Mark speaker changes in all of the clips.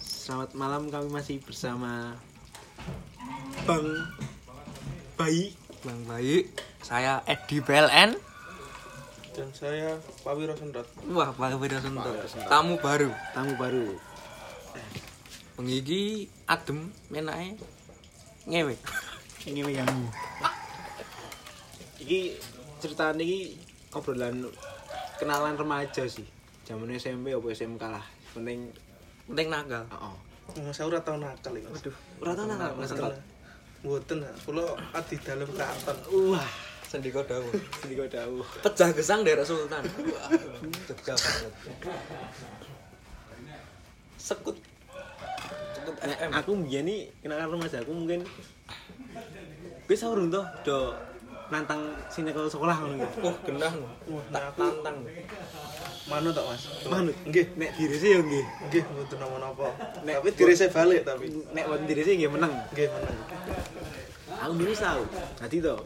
Speaker 1: selamat malam kami masih bersama Bang Bayi
Speaker 2: Bang Bayu, saya eh, Edi BLN.
Speaker 3: dan saya Pak Wiro Sendrat
Speaker 2: Wah, Pak Wiro Sentul. Tamu baru.
Speaker 1: tamu baru
Speaker 2: Pengiki adem, menake ngewe.
Speaker 1: ini menyambung ini cerita ini obrolan kenalan remaja sih zaman SMP apa SMK lah penting
Speaker 2: Penting nagal.
Speaker 1: oh
Speaker 3: Mas saya ora tau nakal ya Mas
Speaker 1: ora tau nang
Speaker 3: Mas
Speaker 1: Mas
Speaker 3: Mboten ha kula adi dalem karton
Speaker 1: wah
Speaker 2: Sendika dawuh.
Speaker 1: sedih dawuh
Speaker 2: Pecah gesang daerah Sultan. Wah, Jogja banget. Sekut. Sekut FM.
Speaker 1: Nah, aku mbiyen nih kenalan remaja aku mungkin bisa urung toh do nantang sinetron sekolah ngono gitu.
Speaker 2: Wah, Oh, genah. Tak tantang.
Speaker 3: manut tak Mas
Speaker 1: Manut.
Speaker 3: nggih
Speaker 1: Nek diri sih ya nggih.
Speaker 3: nggih mboten napa-napa
Speaker 1: Nek-
Speaker 3: tapi diri saya balik tapi
Speaker 1: Nek wonten diri sih nggih menang.
Speaker 3: nggih menang
Speaker 1: Aku dulu tau. Dadi to.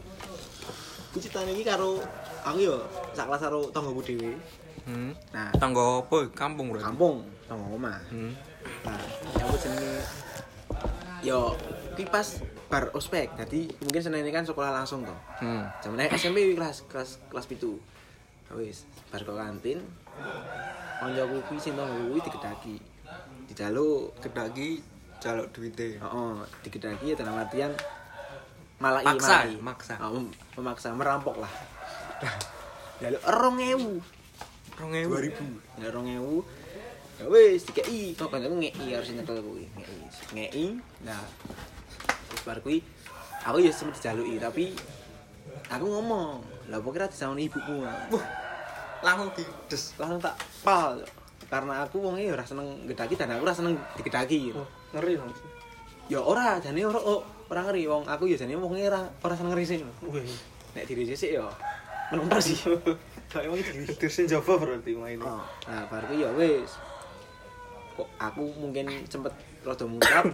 Speaker 1: Ku ceritane iki karo aku yo sak kelas karo tanggoku dhewe.
Speaker 2: Hmm.
Speaker 1: Nah,
Speaker 2: Tangga apa? Kampung berarti.
Speaker 1: kampung tanggo omah.
Speaker 2: Hmm.
Speaker 1: Nah, aku jenenge yo kipas bar ospek. Dadi mungkin senene kan sekolah langsung toh.
Speaker 2: Hmm.
Speaker 1: Zaman naik SMP kelas kelas kelas pitu. Wis, bar ke kantin. Konjoku kuwi sing tau kuwi digedaki. Dijaluk,
Speaker 2: Kedaki jaluk duite.
Speaker 1: heeh, digedaki ya dalam artian malah
Speaker 2: Maksa,
Speaker 1: ini
Speaker 2: maksa.
Speaker 1: Oh, mem- memaksa, merampok lah. Jaluk 2000.
Speaker 2: 2000.
Speaker 1: 2000. Ya 2000. Ya wis dikeki, kok kan aku ngeki harus nyekel kuwi. Ngeki. Ngeki. Nah. Terus bar kuwi aku ya sempat dijaluki tapi aku ngomong, lah apa kira disawani ibuku. Wah,
Speaker 2: Langsung di des.
Speaker 1: langsung tak pal karena aku wongnya ya ora seneng gedaki dan aku ora seneng digedaki gitu.
Speaker 3: Wah, ngeri Mas
Speaker 1: Ya ora, jane ora oh, ora ngeri wong aku ya jane wongnya ora ora seneng ngeri sih.
Speaker 3: wih
Speaker 1: Nek diri sih ya menunggu sih. Kayak wong iki
Speaker 3: diri saya coba berarti main
Speaker 1: Oh, nah baru ya wis. Kok aku mungkin sempet rada mungkap,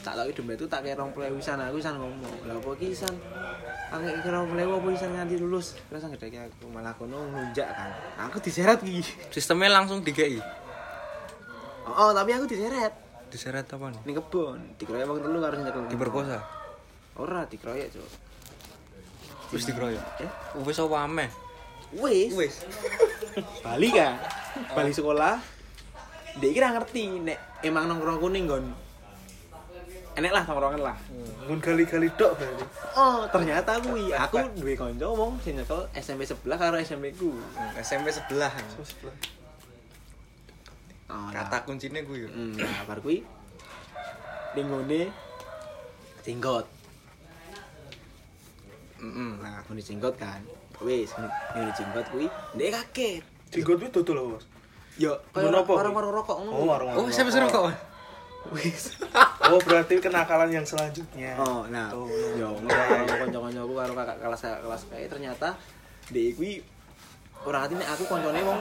Speaker 1: tak tahu dompet itu tak kira 20.000 wisan aku wisan ngomong. Lah apa iki wisan? Aku iki kira 20.000 apa wisan nganti lulus. Terus nang gedhe aku malah kono ngunjak kan. Aku diseret ki.
Speaker 2: Sistemnya langsung DKI.
Speaker 1: Oh, oh, tapi aku diseret.
Speaker 2: Diseret apa nih?
Speaker 1: Ning kebon, dikeroyok wong telu karo nyekel.
Speaker 2: Diperkosa.
Speaker 1: Ora dikeroyok, Cuk.
Speaker 2: Wis dikeroyok.
Speaker 1: Eh,
Speaker 2: Wis apa ameh?
Speaker 1: wis.
Speaker 2: Wis.
Speaker 1: Bali kan. Bali sekolah. Dek kira ngerti nek emang nongkrongku ning nggon. Enek lah tongkrongan lah.
Speaker 3: mun gali-gali dok berarti
Speaker 1: Oh, ternyata kuwi aku duwe kanca wong sing nyekel SMP sebelah karo SMP ku.
Speaker 2: SMP sebelah.
Speaker 3: Terus sebelah
Speaker 1: Oh, nah.
Speaker 2: Kata kuncinya gue yuk.
Speaker 1: Hmm, nah, bar kuwi ning ngone jenggot.
Speaker 2: Mm-mm.
Speaker 1: Nah, ngone jenggot kan. Wis, ngone jenggot kuwi ndek kaget.
Speaker 3: jenggot kuwi dodol lho Mas
Speaker 1: Yo,
Speaker 3: Nggon apa kuwi?
Speaker 1: warung-warung rokok
Speaker 3: oh
Speaker 1: ngono.
Speaker 3: warung
Speaker 2: Oh, siapa sih rokok?
Speaker 1: Wis.
Speaker 3: oh berarti kenakalan yang selanjutnya
Speaker 1: Oh, nah,
Speaker 3: Oh,
Speaker 1: yo ngono kanca-kanca aku karo kakak kelas kelas kae ternyata ndek kuwi ora ati nek aku koncone wong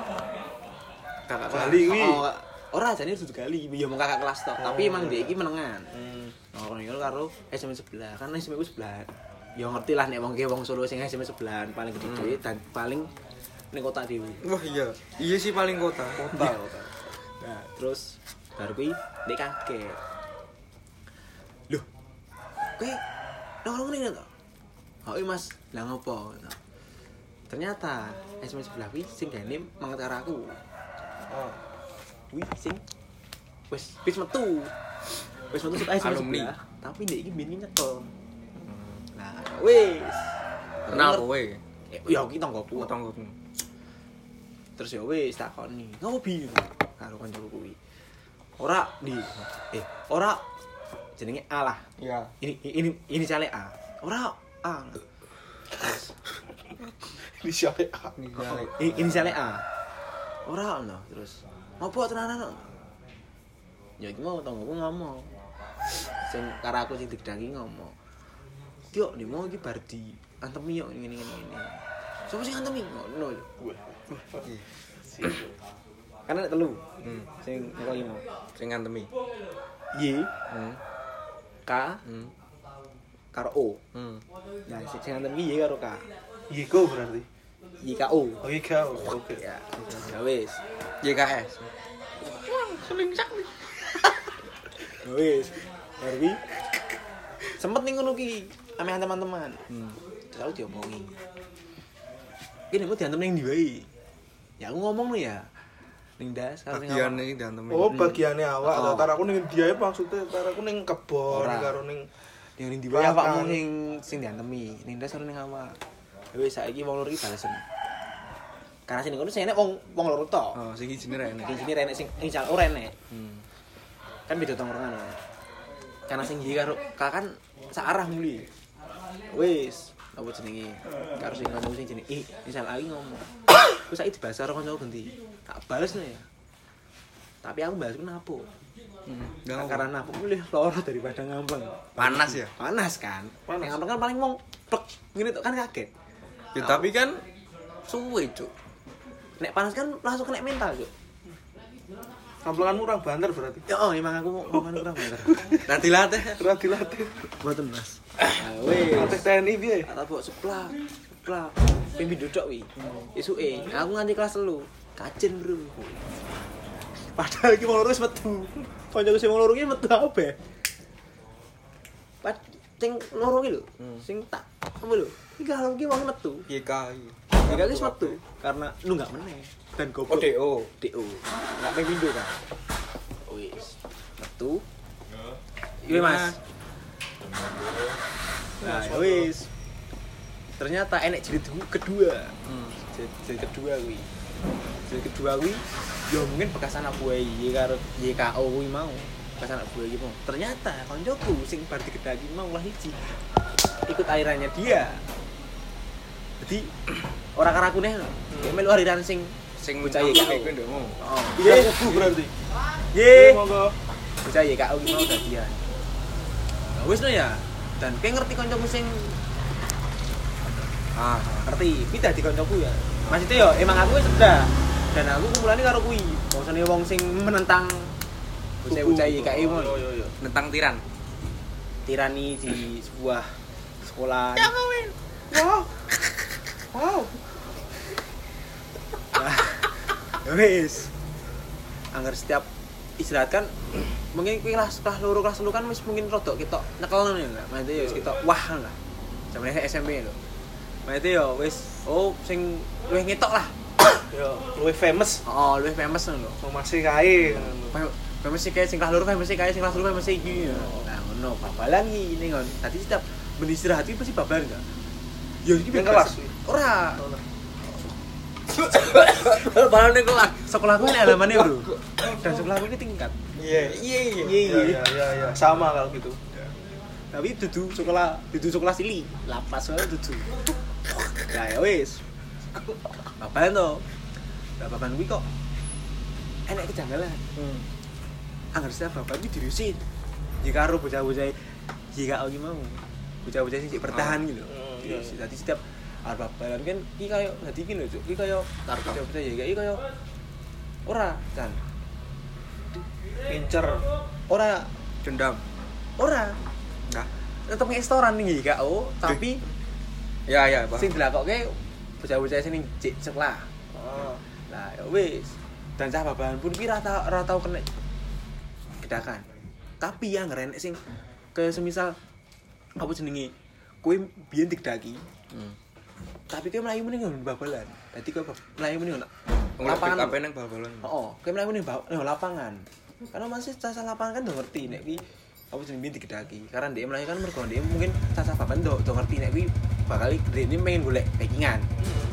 Speaker 1: kakak kelas.
Speaker 3: Gali kuwi.
Speaker 1: Oh, kak- Ora jane dudu gali, ya mung kakak kelas tok, tapi
Speaker 3: Oh.
Speaker 1: emang ndek iki menengan.
Speaker 3: Hmm.
Speaker 1: Ngono iku karo SMA sebelah, kan SMA ku sebelah. Ya ngerti lah nek wong ki wong Solo sing SMA sebelahan paling gede
Speaker 3: Hmm.
Speaker 1: dhewe dan paling ning kota dhewe.
Speaker 2: Wah iya. Iya sih paling kota.
Speaker 3: kota kota
Speaker 1: Nah, terus baru kuwi ndek kaget. Loh. Kuwi nongkrong ngene to? Oh, iya, Mas. Lah ngopo? Ngono. Ternyata SMS sebelah kuwi sing gane manget karo aku.
Speaker 3: oh
Speaker 1: Kuwi sing wis wis metu. Wis metu saka SMS
Speaker 2: Alumni. Hmm.
Speaker 1: sebelah, tapi ndek iki bini nyekel. Nah, wis.
Speaker 2: Kenal kowe.
Speaker 1: Eh, Ya iki tanggoku.
Speaker 2: Gue tanggung.
Speaker 1: terus ya wis takoni ngopo biru karo kancaku kuwi ora di eh ora jenenge A lah
Speaker 2: Iya.
Speaker 1: ini ini ini cale A ora A
Speaker 3: ini siapa ya?
Speaker 1: ini, ini cale A ora ono terus ngopo tenanan no? ya iki mau tanggoku ngomong sing karo aku sing digdangi ngomong Tio, nih mau iki bar di antemi yo ngene ngene ngene. Sopo sing antemi? Ngono. yo.
Speaker 3: Wah.
Speaker 1: Kan ada telu
Speaker 2: Hmm.
Speaker 1: sing ngekeli mau.
Speaker 2: Sing ngantemi.
Speaker 1: Y,
Speaker 2: Hmm.
Speaker 1: K,
Speaker 2: Hmm.
Speaker 1: karo O.
Speaker 2: Hmm.
Speaker 1: Nah, sing sing ngantem iki Y karo K.
Speaker 3: Yiko Iya, berarti.
Speaker 1: Y K O.
Speaker 3: Oh Yiko. Oke.
Speaker 1: Ya, ya wis.
Speaker 2: YKS.
Speaker 1: wis bar kuwi sempet ning ngono ki ame teman-teman
Speaker 2: Hmm.
Speaker 1: terus aku diomongi ini mau diantem ning ndi wae ya aku ngomong nih ya ning das karo ning
Speaker 2: Bagian
Speaker 1: awak.
Speaker 2: ini dan temen.
Speaker 3: Oh, bagiannya awak.
Speaker 1: Oh.
Speaker 3: Oh. Taraku ning dia maksudnya taraku ning kebon
Speaker 1: Ora.
Speaker 3: karo ning
Speaker 1: ning ning ndi wae awakmu
Speaker 3: Belakang.
Speaker 1: ning sing diantemi ning das karo ning awak Ya wis saiki wong loro iki balesan karena sini kono sing enek wong wong loro tok
Speaker 2: Oh, sing izine ra enek.
Speaker 1: Di sini renek sing insya Allah renek
Speaker 2: Hmm.
Speaker 1: kan beda tongkrongan ya. Karena sing iki karo kakan searah muli. Wis, apa jenenge? Karo sing kanca sing jenenge I, misal aku ngomong. Terus saiki dibahas karo kanca ganti. Tak bales no ya. Tapi aku bahas ku napo.
Speaker 2: Hmm. Nggak
Speaker 1: Karena napo milih loro daripada ngambang.
Speaker 2: panas ya.
Speaker 1: Panas kan?
Speaker 3: Panas.
Speaker 1: Yang ngambang kan paling mong plek ngene tok kan kaget.
Speaker 2: Ya tapi kan suwe, Cuk.
Speaker 1: Nek panas kan langsung kena mental, Cuk.
Speaker 3: kamplenganmu kurang banter berarti.
Speaker 1: Ya oh, emang aku mau ngomong kurang bener.
Speaker 2: Nanti latih.
Speaker 3: Ora dilatih.
Speaker 1: Buatan, Mas. Ah, wis.
Speaker 3: Latih TNI piye?
Speaker 1: tak bawa seplak seplak pembi duduk wi isu eh aku nganti kelas lu kacen bro padahal iki mau lurus metu kanca sing mau lurus iki metu apa pad sing loro iki lho sing tak apa lho iki kalau iki mau metu
Speaker 2: YKI.
Speaker 1: iki wis metu karena lu gak meneh dan
Speaker 2: Oh,
Speaker 1: goblok
Speaker 2: ODO.
Speaker 1: DO nggak pembi duduk kan wis metu Iya mas, Nah, ya wis. Ternyata enek jilid du- kedua.
Speaker 2: Hmm.
Speaker 1: Jilid, jilid kedua kuwi. Jilid kedua kuwi ya mungkin bekas anak buah iki karo YKO kuwi mau. Bekas anak buah iki mau. Ternyata koncoku sing bar digedaki mau lah hiji. Ikut airannya dia. Jadi orang karakune lho. Kayak melu airan sing
Speaker 2: Sing
Speaker 1: Bocah
Speaker 2: bocah
Speaker 1: YKO.
Speaker 2: YKI kuwi ndekmu.
Speaker 1: Hmm. oh,
Speaker 3: Iya, kubu berarti.
Speaker 1: Ye.
Speaker 3: monggo.
Speaker 1: bocah YKO ki mau dadian. Nah, wis no ya. Dan kayak ngerti koncoku sing
Speaker 2: Ah.
Speaker 1: ngerti kuwi dadi kancaku ya maksudnya yo emang aku wis udah dan aku kumulane karo kuwi maksudnya wong sing menentang bocah-bocah e, IKI mau
Speaker 3: Yo yo yo.
Speaker 2: Nentang tiran.
Speaker 1: tirani di sebuah sekolah
Speaker 3: Wow. Wow.
Speaker 1: Nah, wis anggar setiap istirahat kan mungkin kuwi kelas kelas loro kelas telu kan wis mungkin rodok ketok nekel ngono ya enggak maksudnya yo wis ketok wah ngono lah jamane SMP lho maksudnya yo wis oh sing luwih ngetok lah
Speaker 3: Yo, luwih famous
Speaker 1: oh luwih famous ngono lho
Speaker 3: mau masih kae.
Speaker 1: Kau mesti kayak singkah lur, kau mesti kayak singkah lur, kau mesti gini.
Speaker 2: Oh.
Speaker 1: Nah, ngono babalan iki ini ngon. Tadi setiap beristirahat itu pasti babalan enggak? Ya iki
Speaker 3: Yang kelas, wi.
Speaker 1: Ora.
Speaker 2: Baru ning kelas.
Speaker 1: Sekolah aku ini halamannya, Bro. Dan sekolah aku ini tingkat.
Speaker 3: Iya.
Speaker 2: Iya iya.
Speaker 1: Iya,
Speaker 3: Iya
Speaker 1: iya.
Speaker 3: iya iya iya. Sama kalau gitu.
Speaker 1: Tapi dudu sekolah, dudu sekolah sili. Lapas wae dudu. Nah, ya wis. Babalan to. Lah babalan kuwi kok enek kejanggalan.
Speaker 2: Hmm.
Speaker 1: anggar setiap bapak itu dirusin jika karo bocah-bocah e. jika aku oh, mau bocah-bocah sing sik bertahan gitu
Speaker 3: Oh, iya,
Speaker 1: dirusin tadi setiap arep babalan kan iki kayo dadi iki lho cuk iki kayo karo bocah-bocah jika iki kayo ora kan
Speaker 3: Pincer.
Speaker 1: ora
Speaker 2: Dendam.
Speaker 1: ora
Speaker 2: Nah.
Speaker 1: tetep ngestoran nih jika oh tapi
Speaker 2: Ya ya, Pak.
Speaker 1: sing dilakoke bocah-bocah sing ning cek sekolah
Speaker 3: Ah.
Speaker 1: lah ya wis dan cah babalan pun kira tau ora tau kena gedakan tapi yang ngeren sing kayak semisal apa jenenge kue biyen digedaki
Speaker 2: Hmm.
Speaker 1: tapi kue melayu mending nggon babalan dadi kue bab- melayu mending nggon
Speaker 2: Lapangan
Speaker 1: lapangan
Speaker 2: apa nang bal-balan.
Speaker 1: oh kue melayu mending bab- nggon lapangan karena masih caca lapangan kan udah ngerti nek kuwi apa jenenge biyen digedaki karena dia melayu kan mergo dia mungkin caca babalan do do ngerti nek kuwi bakal dia ini pengen golek pekingan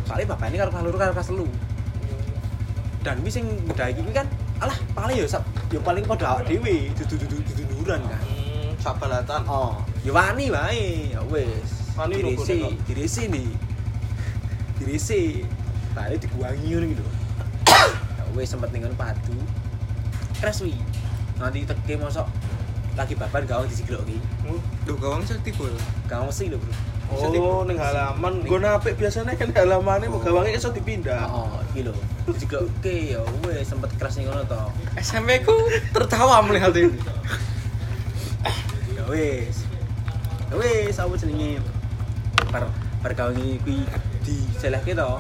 Speaker 1: soalnya bapak ini karo kalur karo kaselu dan wis sing ngedaki kuwi kan alah paling ya sab- ya paling padha awak dhewe dududududuran kan
Speaker 3: Hmm, sabalatan.
Speaker 1: oh ya wani wae ya wis
Speaker 3: Wani lho
Speaker 1: dirisi
Speaker 3: kok nek kok.
Speaker 1: dirisi nih dirisi tadi diguangi ngono iki lho ya wis sempet ning ngono padu kres wi nanti teke mosok lagi baban gawang disigroki
Speaker 3: Hmm.
Speaker 2: Duh, gawang sing tiba.
Speaker 1: gawang sih lho bro
Speaker 3: Oh, ning halaman. Nggon apik biasanya kan halamane mau gawange iso dipindah.
Speaker 1: oh iki lho disigroki ya wis sempet kres ning ngono to
Speaker 2: SMP ku tertawa melihat ini.
Speaker 1: ya wis ya wis apa jenenge per pergawangi kuwi diselehke to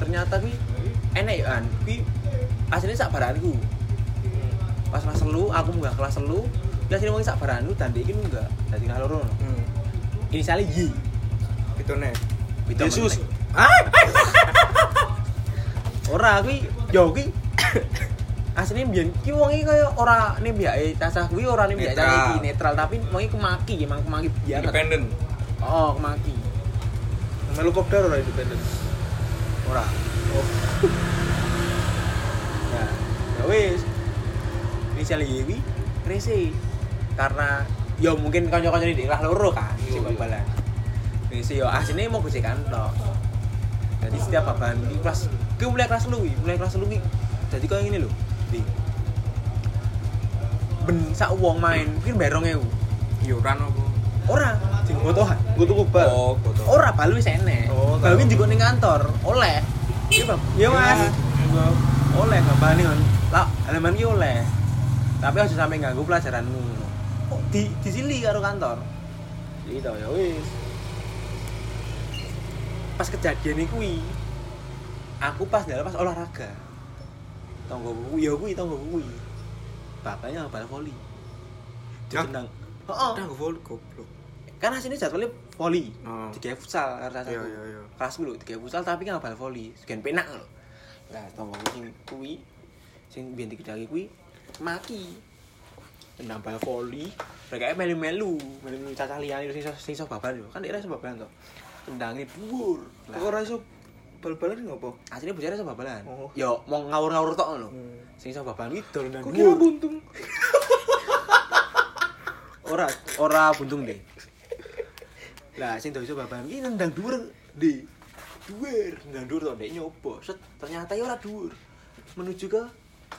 Speaker 1: ternyata kuwi enek yo an kuwi asline sak baranku pas kelas telu aku munggah kelas telu biasanya wong sak baran hutan dek iki enggak dadi kalau rono inisiale Y
Speaker 2: Hmm, Itu nih.
Speaker 1: Wito
Speaker 3: Yesus.
Speaker 1: meneng. ora kuwi yo kuwi asline mbiyen ki wong iki kaya ora ning mbiyake tasah kuwi ora ning mbiyake
Speaker 2: Netral.
Speaker 1: iki netral tapi wong iki kemaki emang kemaki banget
Speaker 2: Independen.
Speaker 1: oh kemaki
Speaker 3: Melu kopdar ora independen.
Speaker 1: ora
Speaker 3: Oh,
Speaker 1: Nah, ya wis. Inisial Yewi, Rese. Karena ya mungkin kanca-kanca di daerah loro kan,
Speaker 2: Yo,
Speaker 1: sing
Speaker 2: yo.
Speaker 1: babalan. Rese ya asine mau gue kantor. Jadi setiap babalan di kelas, gue mulai kelas lu, wi, mulai kelas lu. wi. Jadi kau ini lho. Di. Ben sak wong main, mungkin barong ewu.
Speaker 2: Iuran apa?
Speaker 1: Ora, sing botohan.
Speaker 3: gua tuh kubal.
Speaker 2: Oh, foto.
Speaker 1: Ora balu wis enek.
Speaker 3: Oh,
Speaker 1: Balu
Speaker 3: tahu.
Speaker 1: juga ning kantor, oleh. Iya, Bang. Iya, Mas. oleh bapak nih kan lah halaman ki oleh tapi harus sampai ganggu pelajaranmu kok di di sini karo kantor gitu ya wis pas kejadian ini kui aku pas dalam pas olahraga tonggo kui ya kui tonggo kui bapaknya bal voli
Speaker 2: Hah?
Speaker 1: ditendang oh,
Speaker 2: Udah gue vol goblok.
Speaker 1: karena sini jadwalnya voli
Speaker 2: Oh.
Speaker 1: tiga futsal karena
Speaker 2: Iya,
Speaker 1: satu
Speaker 2: iya, iya.
Speaker 1: kelas dulu tiga futsal tapi kan bal voli sekian penak loh nah tonggo sing kui sing biyen digedaki kui maki tendang bal voli mereka melu melu melu melu cacah liane sing iso- sing iso babalan lho kan daerah iso babalan to tendangnya dhuwur lah
Speaker 3: Kok ora iso bal-balan ngopo?
Speaker 1: aslinya bujare iso babalan
Speaker 3: Oh.
Speaker 1: yo mau ngawur-ngawur tok lho
Speaker 3: Hmm.
Speaker 1: sing iso babalan iki dol nang
Speaker 3: Kok kira
Speaker 1: dhuwur.
Speaker 3: buntung?
Speaker 1: ora ora buntung deh lah sing dol iso babalan iki nendang dhuwur di dhuwur nendang dhuwur tok ndek nyoba set ternyata ya ora dhuwur menuju ke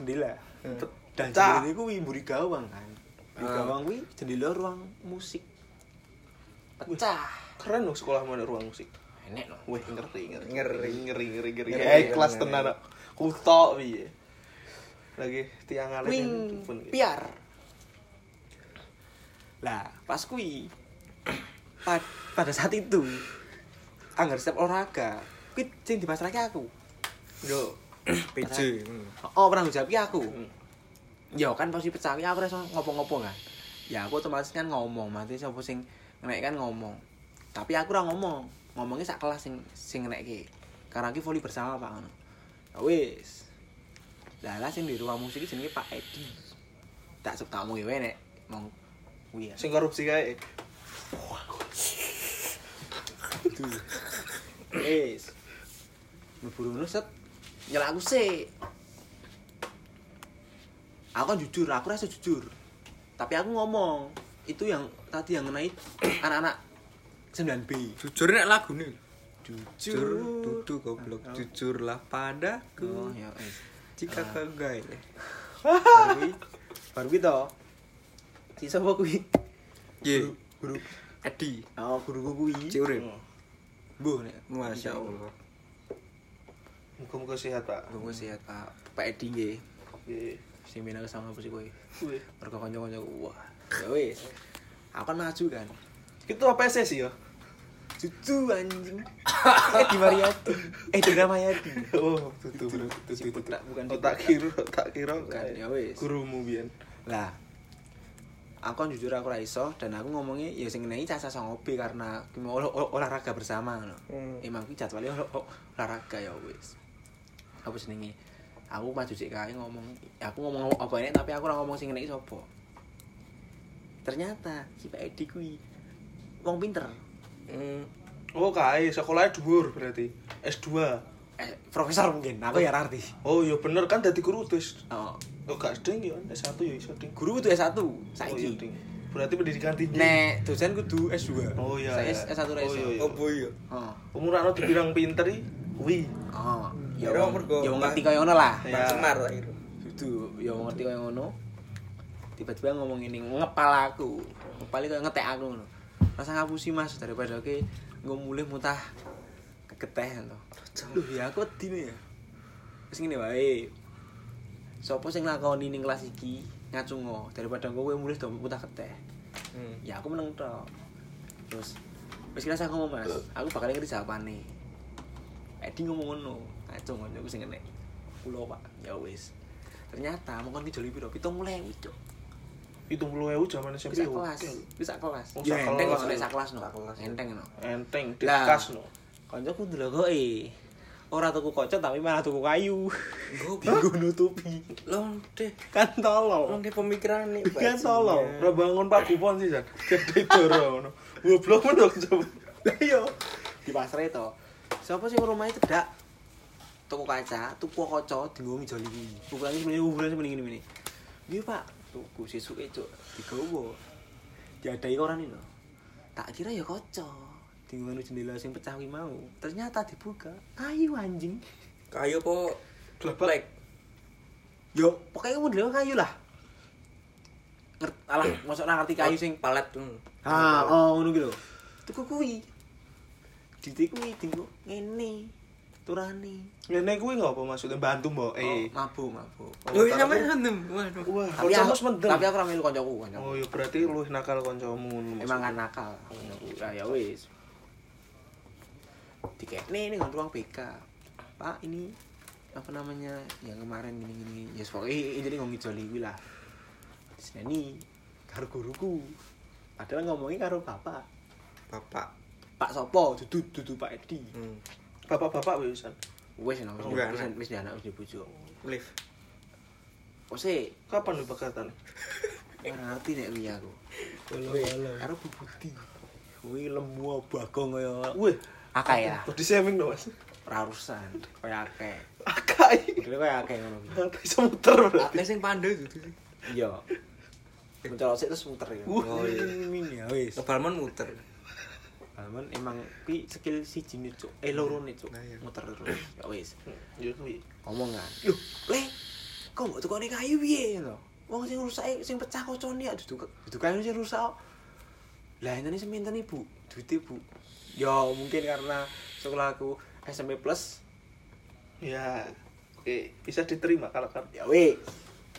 Speaker 1: jendela
Speaker 3: Hmm.
Speaker 1: dan
Speaker 2: Cak.
Speaker 1: jendela iku kuwi mburi gawang kan mburi
Speaker 2: Ah.
Speaker 1: gawang kuwi jendela ruang musik pecah
Speaker 3: Keren loh sekolah mana ruang musik.
Speaker 1: enek no
Speaker 3: Wih, ngeri, ngeri,
Speaker 2: Ngeri.
Speaker 3: ngeri, ngeri, ngeri, ngeri.
Speaker 1: Ya,
Speaker 2: Ngeri,
Speaker 3: Eh,
Speaker 2: ngeri,
Speaker 3: kelas
Speaker 2: ngeri.
Speaker 3: tenan kok. Kutok piye. Lagi tiang alih
Speaker 1: wing
Speaker 3: yang telepon, gitu.
Speaker 1: piar lah pas kui pa- pada saat itu anggar setiap olahraga kui sing dipasrahke aku
Speaker 3: Yo.
Speaker 2: PJ.
Speaker 1: oh pernah jawab ki aku
Speaker 3: Hmm.
Speaker 1: ya kan pasti pecah ki aku rasa ngopo-ngopo kan ya aku otomatis kan ngomong mati sapa sing ngenek kan ngomong tapi aku ora ngomong ngomongnya sak kelas sing sing ngenek ki karena ki voli bersama pak ngono ya wis lah lah sing di ruang musik iki jenenge Pak Edi tak sok tamu ya nek mong kuwi ya
Speaker 3: Sing korupsi kae.
Speaker 1: Wis. Mlebu rono set nyelak aku sik. Aku kan jujur, aku rasa jujur. Tapi aku ngomong, itu yang tadi yang mengenai anak-anak 9B.
Speaker 2: Jujur nek lagu nih.
Speaker 1: Jujur.
Speaker 2: Jujur, dudu goblok.
Speaker 1: Oh.
Speaker 2: Jujurlah
Speaker 1: Oh,
Speaker 2: padaku.
Speaker 1: ya wis.
Speaker 2: Jika
Speaker 1: Ah.
Speaker 2: kau gay.
Speaker 1: Baru kuwi, baru kuwi to. Si sapa kuwi?
Speaker 2: Ye.
Speaker 1: Guru.
Speaker 2: Adi.
Speaker 1: Oh, guruku kuwi.
Speaker 2: Cik Urip.
Speaker 1: Mbuh nek.
Speaker 2: Masya Allah.
Speaker 3: Muka-muka sehat, Pak.
Speaker 1: Gue sehat Pak Pak Edi nggih.
Speaker 3: Iya.
Speaker 1: Sing menang sama apa sih kuwi?
Speaker 3: Wih.
Speaker 1: Mergo kanca-kanca wah. Ya wis. Aku kan maju kan.
Speaker 3: Itu apa sih ya?
Speaker 1: Cucu anjing. Eh di Mariati. Eh di Ramayati.
Speaker 3: Oh, tutu,
Speaker 1: Tutu,
Speaker 3: tutu,
Speaker 1: si
Speaker 3: tutu.
Speaker 1: botak, bukan si
Speaker 3: Oh, tak
Speaker 1: botak.
Speaker 3: kira, tak kira.
Speaker 1: Bukan,
Speaker 3: kae.
Speaker 1: ya wis.
Speaker 3: Gurumu biyen.
Speaker 1: Lah. Aku kan jujur aku ra iso dan aku ngomongnya ya sing ngenai caca sangobi karena ki mau olah- olah- olahraga bersama ngono.
Speaker 3: Hmm.
Speaker 1: Emang kuwi jadwalnya olah- olah- olahraga ya wis. Apa jenenge? Aku maju sik kae ngomong, aku ngomong apa ini tapi aku ora ngomong sing ngenai sapa. Ternyata si Pak Edi kuwi wong pinter,
Speaker 3: Oh, kae sekolahnya dhuwur berarti. S2.
Speaker 1: eh, profesor mungkin, aku ya arti.
Speaker 3: Oh, ya bener kan dadi guru terus.
Speaker 1: Oh,
Speaker 3: Oh, gak sedeng ya, S1 ya iso ding.
Speaker 1: guru itu S1
Speaker 3: Oh,
Speaker 1: saiki.
Speaker 3: iya, ding. Berarti pendidikan tinggi.
Speaker 1: Nek dosen kudu S2.
Speaker 3: Oh, iya,
Speaker 1: Saya
Speaker 3: iya.
Speaker 1: S1 ra
Speaker 3: Oh,
Speaker 1: iso.
Speaker 3: iya, iya.
Speaker 2: Oh boy.
Speaker 1: Oh.
Speaker 3: Umurano dibilang pinter iki. Kuwi.
Speaker 1: Oh. Ya
Speaker 2: Kira
Speaker 1: wong
Speaker 2: mergo-
Speaker 1: ya wong ngerti kaya ngono lah.
Speaker 3: Iya.
Speaker 2: Bang Semar lah itu.
Speaker 1: Kudu ya wong ngerti kaya ngono. Tiba-tiba ngomong ini ngepal aku. Ngepal kaya ngetek aku ngono. Rasa ngapusi Mas daripada ke nggo mulih mutah kegetehan to. Duh ya aku wedi ya. Wis ngene wae. Sopo sing lakoni ning kelas iki ngacungo daripada kowe mulih do mutah keteh. ya aku menang tok terus wis kira saya ngomong mas aku bakal ngerti jawaban nih Edi ngomong ngono kacung ngono aku sing ngene pulau pak ya wis ternyata mungkin ki joli piro pitung mulai cuk
Speaker 3: Hitung puluh ewu zaman SMP.
Speaker 1: bisa
Speaker 3: yo.
Speaker 1: kelas bisa kelas
Speaker 3: Oh,
Speaker 1: ya
Speaker 3: sak
Speaker 1: enteng
Speaker 3: kelas,
Speaker 1: kok nek
Speaker 3: ya.
Speaker 1: sak kelas no
Speaker 2: Sak kelas, ya.
Speaker 1: enteng no
Speaker 3: Enteng,
Speaker 1: Lah.
Speaker 3: dikas no.
Speaker 1: kancaku ndelokoke ora tuku kocok tapi malah tuku kayu
Speaker 2: Goblok.
Speaker 1: nggo nutupi
Speaker 2: Lonte.
Speaker 1: kan tolol
Speaker 2: Lonte pemikiran nih.
Speaker 1: kan tolol
Speaker 3: Iya, Ora bangun Pak Kupon sih, Jan. Jadi doro ngono. Goblok men dong coba.
Speaker 1: Lah iya. Di pasar itu. Siapa sih rumahnya cedak? Tuku kaca, tuku kaca dienggo ngijoli kuwi. Ukurannya semene ukurannya semene ngene ngene. Nggih, Pak. Tuku sesuke, Cuk. Digowo. Diadai koran ini lho. Tak kira ya kaca. Dienggo anu jendela sing pecah kuwi mau. Ternyata dibuka. Kayu anjing.
Speaker 2: Kayu po gleblek.
Speaker 1: Yo, pokoknya modelnya kayu lah. Ngerti, alah, masuk ngerti kayu sing
Speaker 2: palet hmm. ngono.
Speaker 3: Ah,
Speaker 1: Ha, oh ngono ki lho. Tuku kuwi. Ditikui dinggo ngene. Turane.
Speaker 3: Ngene kuwi nggak apa maksudnya bantu, Mbok.
Speaker 1: Oh,
Speaker 3: Eh.
Speaker 1: mabuk, mabuk. Oh.
Speaker 2: Lho iki sampean antem. Waduh.
Speaker 3: Wah,
Speaker 1: Tapi
Speaker 3: kancamu
Speaker 1: aku,
Speaker 3: mendem.
Speaker 1: tapi aku ra melu kancaku, kancaku.
Speaker 3: Oh, ya berarti lu nakal kancamu ngono.
Speaker 1: Emang kan nakal kancaku. Lah ya wis. Tiketne ning ruang BK. Pak, ini apa namanya yang kemarin gini gini ya yes, pokoknya jadi ngomongin joli gue lah di sini karo guruku padahal ngomongin karo bapak
Speaker 2: Bapak.
Speaker 1: pak sopo dudu dudu pak edi
Speaker 2: Hmm.
Speaker 3: bapak-bapak wisan.
Speaker 1: wes no wis
Speaker 2: Enggak,
Speaker 1: wis
Speaker 2: anak.
Speaker 1: wis anak wis dibujuk
Speaker 2: Lift.
Speaker 1: Ose,
Speaker 3: Kapan lu pekatan?
Speaker 1: ora ngerti nek kuwi aku. Karo bubuti. Kuwi lemu bagong kaya
Speaker 3: Wih,
Speaker 1: akeh ya,
Speaker 3: body shaming dong, Mas.
Speaker 1: ora urusan, kaya akeh.
Speaker 3: Akai.
Speaker 1: Modele kaya akeh ngono kuwi.
Speaker 3: Nanti bisa muter berarti.
Speaker 2: Ah, Nek sing pandai gitu itu.
Speaker 1: Iya. Mencolok sik terus muter ya. Oh,
Speaker 2: Wuh.
Speaker 1: min ya wis.
Speaker 2: Lebalmon muter.
Speaker 1: Aman emang kuwi skill siji ne cuk, eh loro ne cuk.
Speaker 2: Nah, iya.
Speaker 1: Muter terus. Ya wis.
Speaker 3: Ya kuwi.
Speaker 1: Ngomong kan. Loh, le. Kok mbok tukone kayu piye ngono? Wong sing rusak sing pecah kocone ya duduk duduk kayu sing rusak. kok. Lah ini seminta nih bu, duitnya bu. Ya mungkin karena sekolahku SMP plus
Speaker 3: Ya. Oke, bisa diterima kalau kan.
Speaker 1: ya weh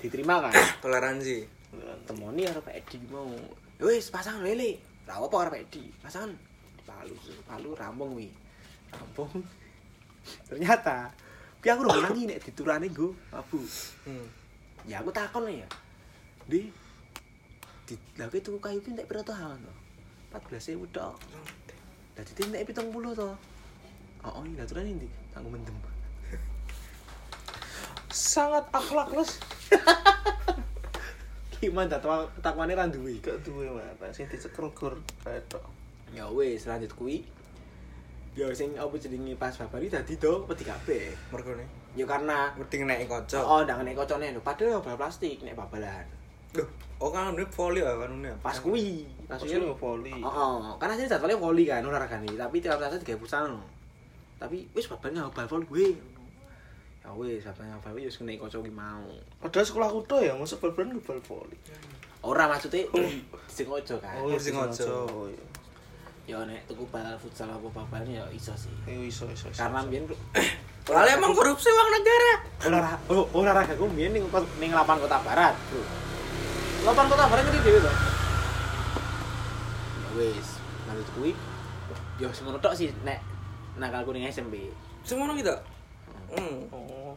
Speaker 1: diterima kan
Speaker 2: Toleransi.
Speaker 1: temoni karo Pak Edi mau "Ya wis pasangan lele ra apa karo Pak Edi pasangan palu palu rampung wi rampung ternyata kuwi aku udah menangi nek diturane nggo abu
Speaker 2: Hmm.
Speaker 1: ya aku takon ya di di lha kuwi tuku kayu ki nek pira to hawan to 14.000 tok Lah titik nek 70 to. Oh, ini aturan ini tanggung mendem.
Speaker 3: Sangat akhlakless.
Speaker 1: Gimana takwa takwane ra duwe.
Speaker 3: Gak duwe mata, sing dicekel gur retok.
Speaker 1: Ya wis lanjut kuwi. Ya sing apa jenenge pas babari dadi to wedi kabeh.
Speaker 2: Mergone.
Speaker 1: Ya karena
Speaker 2: Wedi nek kocok.
Speaker 1: oh ndang nek kocone lho padahal bal plastik nek babalan.
Speaker 2: Loh, oh kan ini volley ya kan ini.
Speaker 1: Pas kuwi.
Speaker 3: Maksudnya
Speaker 1: Nah, Maksudnya
Speaker 3: lu voli.
Speaker 1: Oh, oh. karena sini jadwalnya voli kan olahraga nih, tapi tiap saat tiga puluh Tapi wis babalan nggak bal voli gue. Ya wis babalan nggak bal voli wis kena kocok ki mau.
Speaker 3: Padahal sekolah kuto ya, masa bal-balan bal voli.
Speaker 1: Ora maksudnya disengojo kan.
Speaker 2: Oh, sing ojo.
Speaker 1: ya nek tuku bal futsal apa babalnya ya iso sih
Speaker 3: Iya, iso iso. iso.
Speaker 1: karena mbiyen
Speaker 2: Lah emang korupsi uang negara.
Speaker 1: olahraga oh, olahraga ku mbiyen ning kot- ning lapangan Kota Barat bro lapangan Kota Barat ngerti dhewe to ya wis lanjut kuwi ya semono tok sih nek nakalku ning SMP
Speaker 2: Semono kita. Hmm.
Speaker 3: Oh.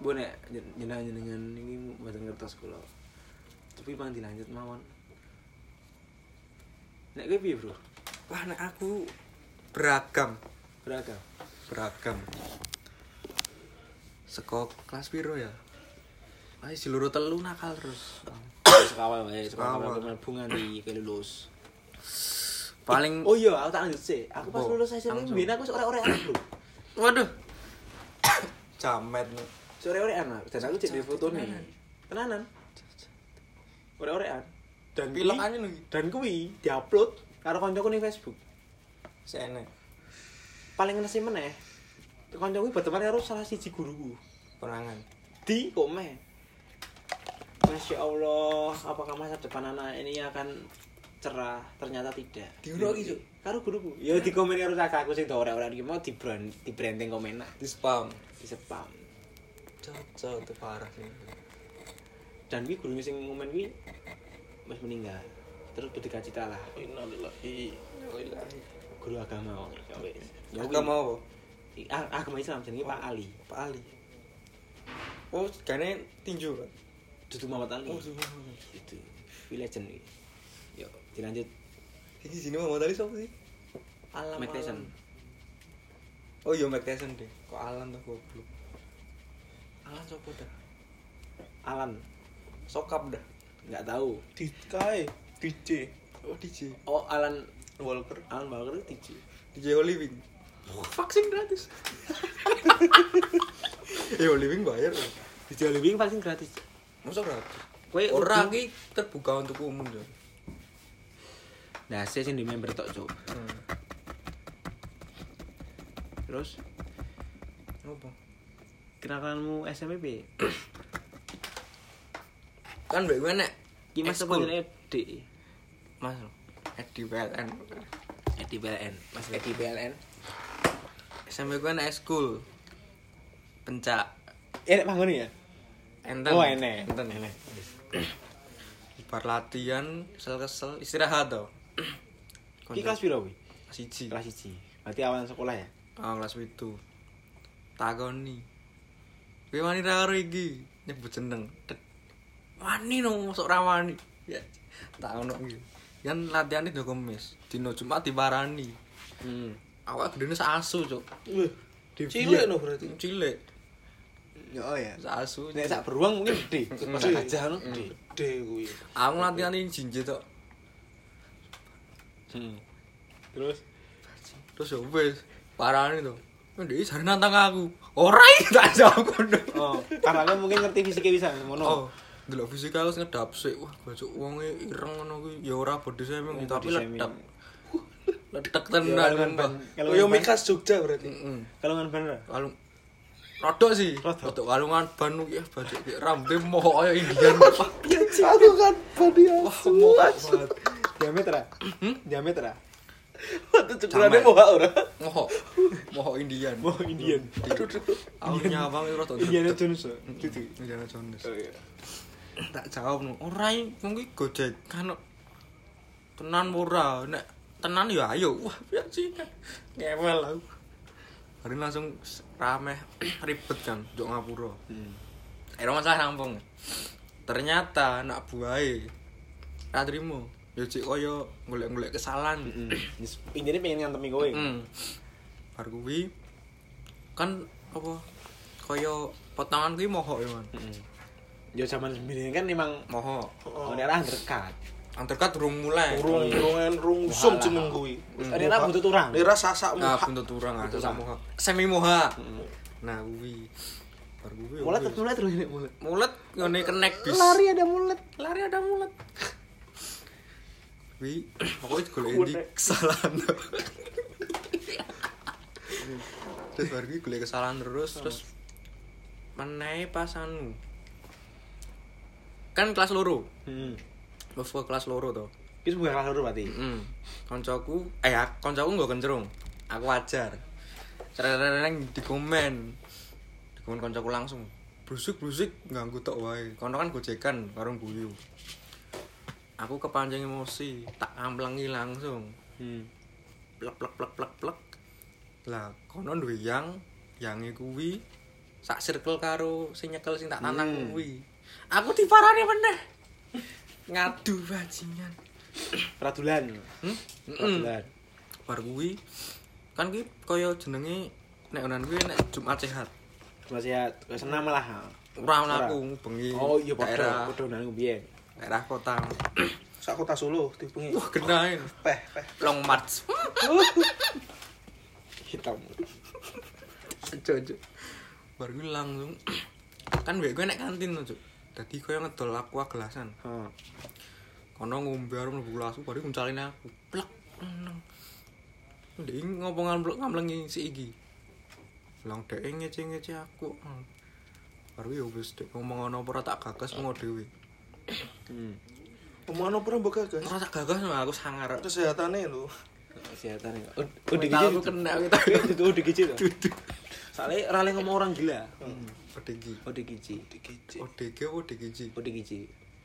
Speaker 1: Bu nek jen- jenengan-jenengan iki mboten ngertos kula tapi pang dilanjut mawon nek kuwi piye bro
Speaker 2: Wah, nek aku beragam,
Speaker 1: beragam
Speaker 2: beragam. Seko kelas piro ya? Ayo seluruh telu nakal terus.
Speaker 1: sekawal wae sekawal
Speaker 2: Sekawal.
Speaker 1: mlebu nganti kelulus
Speaker 2: Paling
Speaker 1: Oh iya, aku tak lanjut sih. Aku pas
Speaker 2: Apa?
Speaker 1: lulus SMP
Speaker 2: Langsung.
Speaker 1: mbien aku seorek-orekan, Bro.
Speaker 2: waduh. Jamet nih.
Speaker 1: Seorek-orekan, Mas. dan aku cek di fotone. Tenanan. Orek-orekan. Dan
Speaker 2: Pilek
Speaker 1: kuwi-
Speaker 2: aja lagi.
Speaker 1: Dan kuwi diupload karo kancaku ning Facebook.
Speaker 2: Sene.
Speaker 1: Paling ngenesi meneh. Kancaku kuwi berteman karo salah siji guruku.
Speaker 2: Perangan.
Speaker 1: Di komen. Masya Allah, apakah masa depan anak ini akan cerah? Ternyata tidak.
Speaker 2: Diulang iki, Cuk.
Speaker 1: Karo guruku. Ya di komen karo kakakku sing orek-orekan iki mau di brand di branding komen nah.
Speaker 2: Di spam.
Speaker 1: di spam.
Speaker 2: Cocok tuh parah sih.
Speaker 1: dan gue gurunya sing momen gue mas meninggal terus berduka cita lah
Speaker 3: Innalillahi.
Speaker 1: guru agama wong ya wis ya
Speaker 2: Aku
Speaker 1: ah, agama
Speaker 2: mau apa?
Speaker 1: agama Islam jenenge Pak Ali
Speaker 2: Pak Ali. Oh, kayaknya tinju kan?
Speaker 1: Dudu Muhammad Ali. Itu. Wih legend iki. Yuk, dilanjut.
Speaker 4: Iki sini mau tadi siapa sih? Alam.
Speaker 1: Mike Tyson.
Speaker 4: Alam. Oh iya Mike Tyson deh. Kok Alan tuh goblok. Alan siapa dah?
Speaker 1: Alan.
Speaker 4: Sokap dah.
Speaker 1: Enggak tahu.
Speaker 3: Dikai, DJ,
Speaker 4: Oh DJ.
Speaker 1: Oh, Alan
Speaker 3: Walker.
Speaker 1: Alan Walker itu DJ.
Speaker 4: DJ Oliving.
Speaker 1: Vaksin gratis.
Speaker 4: Eh Oliving bayar. loh.
Speaker 1: DJ Living vaksin gratis.
Speaker 4: Masa gratis?
Speaker 1: Kue
Speaker 4: Orang ini terbuka untuk umum ya.
Speaker 1: Nah, saya sing di member tok, Cuk.
Speaker 4: Hmm.
Speaker 1: Terus
Speaker 4: Apa?
Speaker 1: kenakalanmu SMP?
Speaker 4: Kan mbak gue nek
Speaker 1: Ki Mas apa
Speaker 4: Ekskul.
Speaker 1: jenenge D?
Speaker 4: Mas Edi PLN.
Speaker 1: Edi PLN. Mas
Speaker 4: Edi PLN. SMP gue nek school. Pencak.
Speaker 1: Enak panggon ya?
Speaker 4: Enten.
Speaker 1: Oh, enek.
Speaker 4: Enten enek. Bar latihan, kesel-kesel, istirahat toh.
Speaker 1: Ki kelas piro kuwi?
Speaker 4: siji.
Speaker 1: Kelas 1. Berarti awal sekolah ya?
Speaker 4: Ah kelas 7. Takoni. Kowe wani ra karo iki? Nyebut jeneng. Tet. Wani no mosok ra wani. Ya. Tak ono iki. Kan latihane do kemis. Dino Jumat diparani.
Speaker 1: Hmm.
Speaker 4: Awak gedene sak asu, Cuk.
Speaker 3: Wih, cilik no berarti.
Speaker 4: Cilik.
Speaker 1: Oh ya.
Speaker 4: Sak asu.
Speaker 1: Nek sak beruang mungkin D. Pas
Speaker 3: D.
Speaker 1: gajah no D.
Speaker 3: Gede kuwi.
Speaker 4: Aku latihan ing jinje tok.
Speaker 1: Hmm. Terus
Speaker 4: Terus ya wis parani to. Ndek jare nantang aku. Ora iki tak jawab kono.
Speaker 1: Oh, karena kan mungkin ngerti fisiknya bisa
Speaker 4: Oh,
Speaker 1: ngono.
Speaker 4: delok fisika harus ngedap sik. Wah, bocok wonge ireng ngono kuwi. Ya ora body shaming
Speaker 1: Oh,
Speaker 4: tapi
Speaker 1: body shaming.
Speaker 4: letek. Letek
Speaker 1: Ya, kan,
Speaker 4: tenan,
Speaker 1: Pan.
Speaker 4: Mbak.
Speaker 1: Kalau
Speaker 3: Koyo
Speaker 1: kan, Pan.
Speaker 3: Mikas Jogja berarti.
Speaker 4: Heeh.
Speaker 1: Kalungan ban ora?
Speaker 4: Kalung Rodok sih.
Speaker 1: Rodok.
Speaker 4: Rodok kalungan ban ku ya bocok ki rambe mohok kaya Indian. Wah,
Speaker 3: Aku kan body
Speaker 4: Wah, mohok banget.
Speaker 1: Diameter. ah? Diameter. ah?
Speaker 3: Waktu cukurannya
Speaker 4: Sama.
Speaker 3: mau ora.
Speaker 4: Mohok. Mohok Indian.
Speaker 1: Wah, Indian.
Speaker 3: Aduh, aduh.
Speaker 4: Aku nyawang itu rodok.
Speaker 1: Indiana
Speaker 4: dredeg.
Speaker 1: Jones. ah? Gitu.
Speaker 4: Indiana Jones.
Speaker 1: Oh, iya.
Speaker 4: tak jawab no ora mung ki gojek kan tenan ora nek tenan ya ayo wah piye sih ngewel aku hari ini langsung s- rame ribet kan jok ngapura
Speaker 1: Hmm.
Speaker 4: akhirnya masalah rampung ternyata anak buahe ra trimo ya cik koyo golek-golek kesalahan
Speaker 1: Hmm. Yes, Intinya pengen ngantemi kowe.
Speaker 4: Hmm. Bar kuwi kan apa koyo potongan kuwi mohok ya man
Speaker 1: Heeh. Yo zaman sembilan kan emang
Speaker 4: mohok
Speaker 1: oh. daerah undercut.
Speaker 4: antarkat durung mulai
Speaker 3: Urung urungan rungsum jeneng kuwi.
Speaker 1: Daerah buntut orang.
Speaker 3: Daerah sasak
Speaker 4: Nah,
Speaker 3: muha.
Speaker 4: buntut urang ah,
Speaker 1: Buntut
Speaker 4: sama
Speaker 1: urang.
Speaker 4: moha. Semi moha. Nah, kuwi. Bar kuwi.
Speaker 1: Mulet
Speaker 4: wis.
Speaker 1: mulet lho ini mulet.
Speaker 4: mulet ngene kenek bis.
Speaker 1: Lari ada mulet.
Speaker 4: lari ada mulet. Kuwi pokoke golek endi kesalahan. terus bar kuwi golek kesalahan terus terus menaik pas anu. Kan kelas loro.
Speaker 1: Heeh.
Speaker 4: Wes kelas loro to.
Speaker 1: Itu bukan kelas loro berarti.
Speaker 4: Mm. Koncoku, eh ak- koncoku nggak kencerung. Aku wajar. Cereng di komen. Di komen koncoku langsung. Brusik-brusik ganggu tok wae. Kono kan gojekan karo guyu. Aku kepancing emosi, tak amplengi langsung.
Speaker 1: Hmm.
Speaker 4: Plek plek plek plek plek. Lah, kono duwe yang, yange kuwi sak circle karo sing nyekel sing tak tantang
Speaker 1: Hmm.
Speaker 4: kuwi. Aku diparani meneh. Ngadu bajingan.
Speaker 1: Radulan.
Speaker 4: Hmm? Mm-mm.
Speaker 1: Radulan.
Speaker 4: bar kuwi kan kuwi kaya jenenge nek onan kuwi nek Jumat sehat.
Speaker 1: Mas ya, senam lah. ha.
Speaker 4: Ora
Speaker 1: Ora.
Speaker 4: mlaku bengi.
Speaker 1: Oh iya
Speaker 4: daerah
Speaker 1: padha padha nang biyen.
Speaker 4: daerah kota.
Speaker 3: Sak kota Solo dipengi.
Speaker 4: Wah, kenain.
Speaker 3: Peh, peh.
Speaker 4: Long march.
Speaker 1: Hitam.
Speaker 4: Jojo. Bar kuwi langsung kan wek gue nek kantin to, Cuk. Dadi kaya ngedol aku gelasan.
Speaker 1: Heeh.
Speaker 4: Kono ngombe arep mlebu kelas, bar kuwi ngucalin aku. Plek. Neng. Ndek iki ngopo ngamblok ngamlengi si iki. Lang dhek ngece-ngece aku. Hmm. Bar kuwi ya wis dek ngomong ana apa ora tak gagas ngono dhewe.
Speaker 1: Hmm.
Speaker 3: Omongno pura mbok gagas.
Speaker 4: Ora tak gagas mah aku sangar.
Speaker 3: Kesehatane lho.
Speaker 1: Kesehatan ya.
Speaker 4: Udah
Speaker 1: Udah
Speaker 4: gitu
Speaker 1: gitu.
Speaker 4: aku kena kita.
Speaker 1: Itu udah gitu. Soalnya rale ngomong orang gila.
Speaker 4: ODG.
Speaker 1: Udah gitu.
Speaker 3: Dikece.
Speaker 4: ODG apa ODGJ?
Speaker 1: Udah gitu.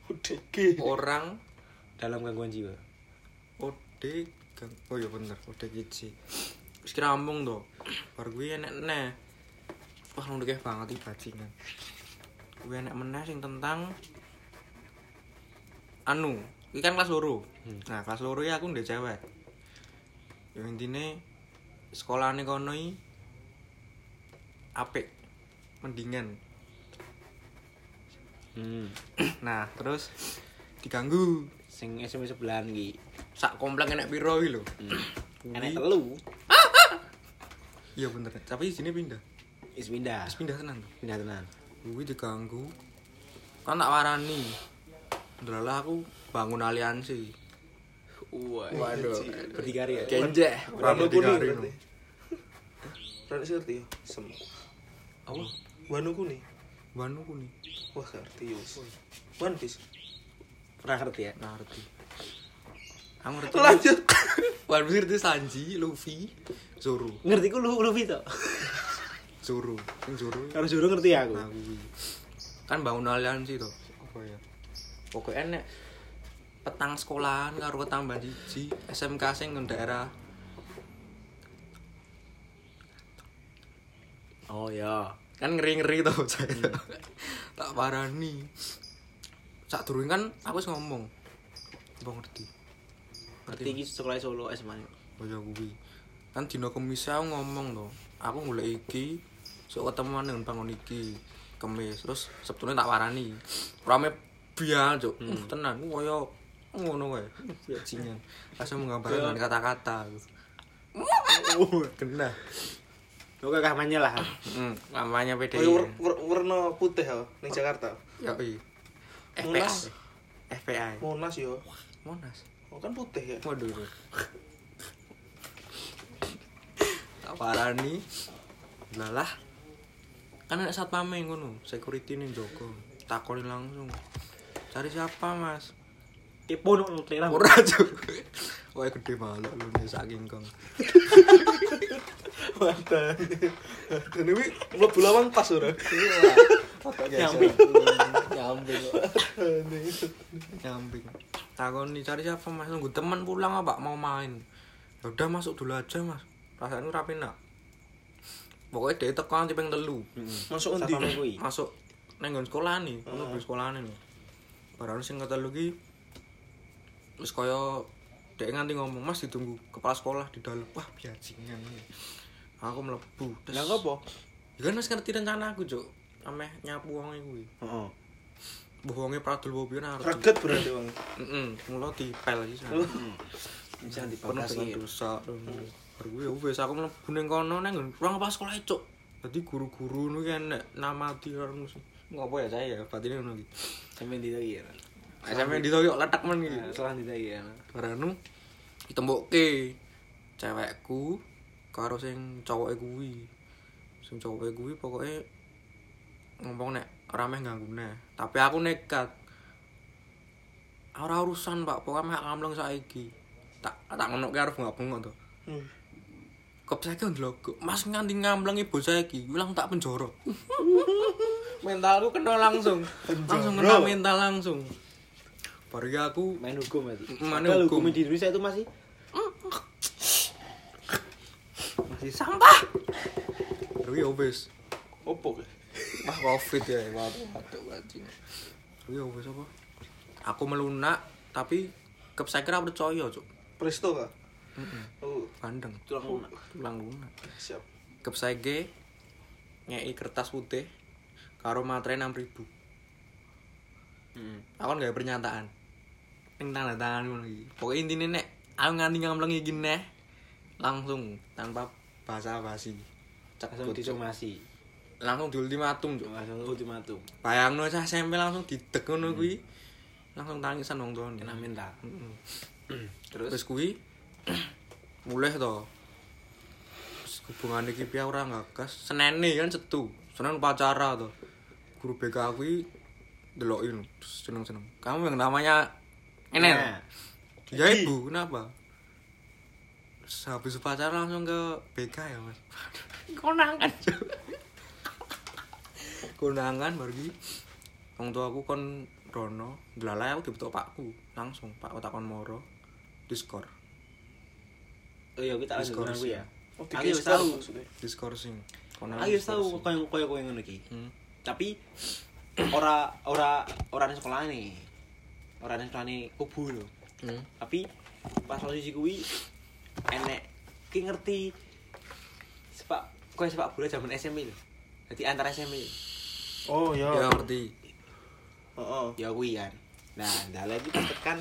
Speaker 3: Udege.
Speaker 4: Orang
Speaker 1: Dalam gangguan jiwa.
Speaker 4: OD gang- Oh iya bener, ODGJ. Wis kira ambung to. Bar kuwi enek neh. Wah, nunduk banget iki bajingan. Kuwi enek meneh sing tentang anu iki kan kelas loro nah kelas loro ya aku ndek cewek ya intine sekolahane kono iki apik mendingan
Speaker 1: Hmm.
Speaker 4: nah terus diganggu
Speaker 1: Sing SMP sebelahan iki.
Speaker 4: sak komplek enek piro iki lho
Speaker 1: Enek telu.
Speaker 4: iya bener tapi sini pindah
Speaker 1: Wis pindah.
Speaker 4: Terus pindah tenan
Speaker 1: Pindah tenan.
Speaker 4: Gue diganggu kan tak warani Ndelalah aku bangun aliansi iya
Speaker 3: Waduh.
Speaker 1: Berdikari ya.
Speaker 4: Kenjek
Speaker 3: Rano
Speaker 4: Rambut
Speaker 3: kuning
Speaker 4: digari
Speaker 3: berarti. Rano sih ngerti ya? Sem.
Speaker 4: Apa?
Speaker 3: Wano kuning.
Speaker 4: Wanu kuning
Speaker 3: Wah gak ngerti yo. One Piece.
Speaker 1: Pernah ngerti ya?
Speaker 4: Nah ngerti Aku ngerti
Speaker 3: Lanjut.
Speaker 4: One Piece ngerti Sanji, Luffy, Zoro
Speaker 1: Ngerti ku lu Luffy to.
Speaker 4: Zoro Yang Zoro
Speaker 1: Karo Zoro ngerti ya aku.
Speaker 4: Nah gue Kan bangun aliansi toh Apa ya? Pokoknya nek petang sekolahan karo ketambahan siji SMK sing nang daerah
Speaker 1: Oh ya.
Speaker 4: kan ngeri ngeri tau
Speaker 1: Hmm.
Speaker 4: saya tak parani sak durung kan aku wis ngomong apa ngerti
Speaker 1: Ngerti iki sekolah Solo eh, SMA.
Speaker 4: kaya kuwi kan dina kemis aku ngomong to aku golek iki sok ketemuan dengan bangun iki kemis terus sabtune tak warani rame biar cuk uh, tenan uh, kaya ngono kae bajingan langsung menggambarkan dengan kata-kata Uh, kena
Speaker 1: Lo kakak manya lah.
Speaker 4: hmm, namanya PDI
Speaker 3: Kayak wer- wer- warna putih ya ning Jakarta.
Speaker 4: ya iya
Speaker 3: Monas.
Speaker 4: FPS FPI
Speaker 3: Monas yo.
Speaker 4: Monas
Speaker 3: Oh kan putih ya.
Speaker 4: Waduh. tak parani. Lalah. Kan ada satpame ngono, security ning jogo. Takoni langsung. Cari siapa, Mas?
Speaker 1: Tipu nuk nutri lah.
Speaker 4: Ora cuk. Wae gede malu lu nih saking kong.
Speaker 3: Wadah. Dan ini mlebu lawang pas ora.
Speaker 1: Nyambi. Hmm, Nyambi.
Speaker 4: Nyamping. Takoni cari siapa, Mas? Nunggu teman pulang apa mau main. Ya udah masuk dulu aja, Mas. Rasanya rapi nak. Pokoknya dia tekan tipeng telu.
Speaker 3: Masuk endi?
Speaker 1: Satpame kuwi.
Speaker 4: masuk neng nggon sekolah nih ono di sekolah nih barang sing kata lu ki terus kaya dek nganti ngomong mas ditunggu kepala sekolah di dalam wah biajingan nih aku melebu terus
Speaker 3: Lah ngopo?
Speaker 4: ya kan wis ngerti rencana aku cuk ameh nyapu wong kuwi
Speaker 1: Heeh.
Speaker 4: bohonge pradul bobi arep
Speaker 3: Reget berarti wong.
Speaker 4: heeh mulo dipel iki sak.
Speaker 1: Bisa
Speaker 4: penuh
Speaker 1: dibakasi.
Speaker 4: dengan dosa baru gue ya wes aku mlebu ning kono neng nggon ruang kepala sekolah cuk tadi guru-guru nu kan nama tiarmu ngopo ya saya ya batinnya ngono iki
Speaker 1: Sampe ndi to iki ya.
Speaker 4: Hmm. SMP di toyok letak men gitu.
Speaker 1: Setelah ndi to iki ya.
Speaker 4: Baranu ditembokke cewekku karo sing cowoke kuwi. Sing cowoke kuwi pokoke ngomong nek ora meh ganggu neh. Tapi aku nekat. Ora urusan, Pak. Pokoke meh ngamleng saiki. Tak tak ngonokke arep bengok-bengok to.
Speaker 3: Hmm.
Speaker 4: Kep saiki ndelok, Mas nganti ngamblengi bocah iki, ilang tak penjara. Mentalku kena langsung. langsung kena mental langsung. Baru ya aku
Speaker 1: Main hukum berarti.
Speaker 4: Main
Speaker 1: Padahal
Speaker 4: hukum.
Speaker 1: hukum di Indonesia itu masih
Speaker 4: masih sampah. Tapi ya wis,
Speaker 3: Opo ke?
Speaker 4: wah covid ya, waduh waduh waduh. Tapi ya wis apa? Aku melunak tapi kep saya kira percaya, Cuk.
Speaker 3: Presto kah? Oh,
Speaker 4: Bandeng,
Speaker 3: tulang lunak.
Speaker 4: tulang lunak.
Speaker 3: Siap.
Speaker 4: Kep saya ge ngei kertas putih karo materai 6000.
Speaker 1: Heeh.
Speaker 4: Aku kan gak pernyataan. Ning tanda tangan ngono iki. Pokoke intine nek aku nganti ngamleng iki neh langsung tanpa basa-basi. Cek
Speaker 1: langsung disomasi.
Speaker 4: langsung diultimatum, Cuk.
Speaker 1: Langsung ultimatum.
Speaker 4: Bayangno cah SMP langsung didek ngono kuwi. Langsung tangisan wong tuane.
Speaker 1: Kena mental.
Speaker 4: Terus wis kuwi mulih to. Terus Hubungane iki piye ora ngagas. Senene kan cetu. Senen upacara to. Guru BK kuwi ndeloki lho, terus seneng-seneng. Kamu yang namanya Enel.
Speaker 1: Nah,
Speaker 4: Ya ibu, kenapa? Terus habis upacara langsung ke BK ya mas Konangan Konangan baru gini Orang tua aku kon Rono Delala aku dibutuh pakku Langsung pak aku takon moro Diskor
Speaker 1: Oh iya, kita lanjut
Speaker 4: Diskorsi.
Speaker 1: nang kuwi ya.
Speaker 3: Oh,
Speaker 1: Aku
Speaker 3: dikei
Speaker 1: wis
Speaker 3: skor
Speaker 1: tahu.
Speaker 3: maksudnya.
Speaker 4: Diskor sing Konangan
Speaker 1: Aku wis tahu
Speaker 4: diskor sing.
Speaker 1: koyo koyo koyo ngono iki.
Speaker 4: Hmm.
Speaker 1: Tapi ora ora ora nang sekolah nih. orang yang suarane kubu lho
Speaker 4: Hmm.
Speaker 1: tapi pas posisi kuwi enek ki ngerti sepak kowe sepak bola zaman SMP lho jadi antara SMP
Speaker 3: Oh
Speaker 4: Ya
Speaker 3: iya.
Speaker 4: ngerti.
Speaker 3: Oh, oh.
Speaker 1: ya kuwi kan nah dalah iki pas tekan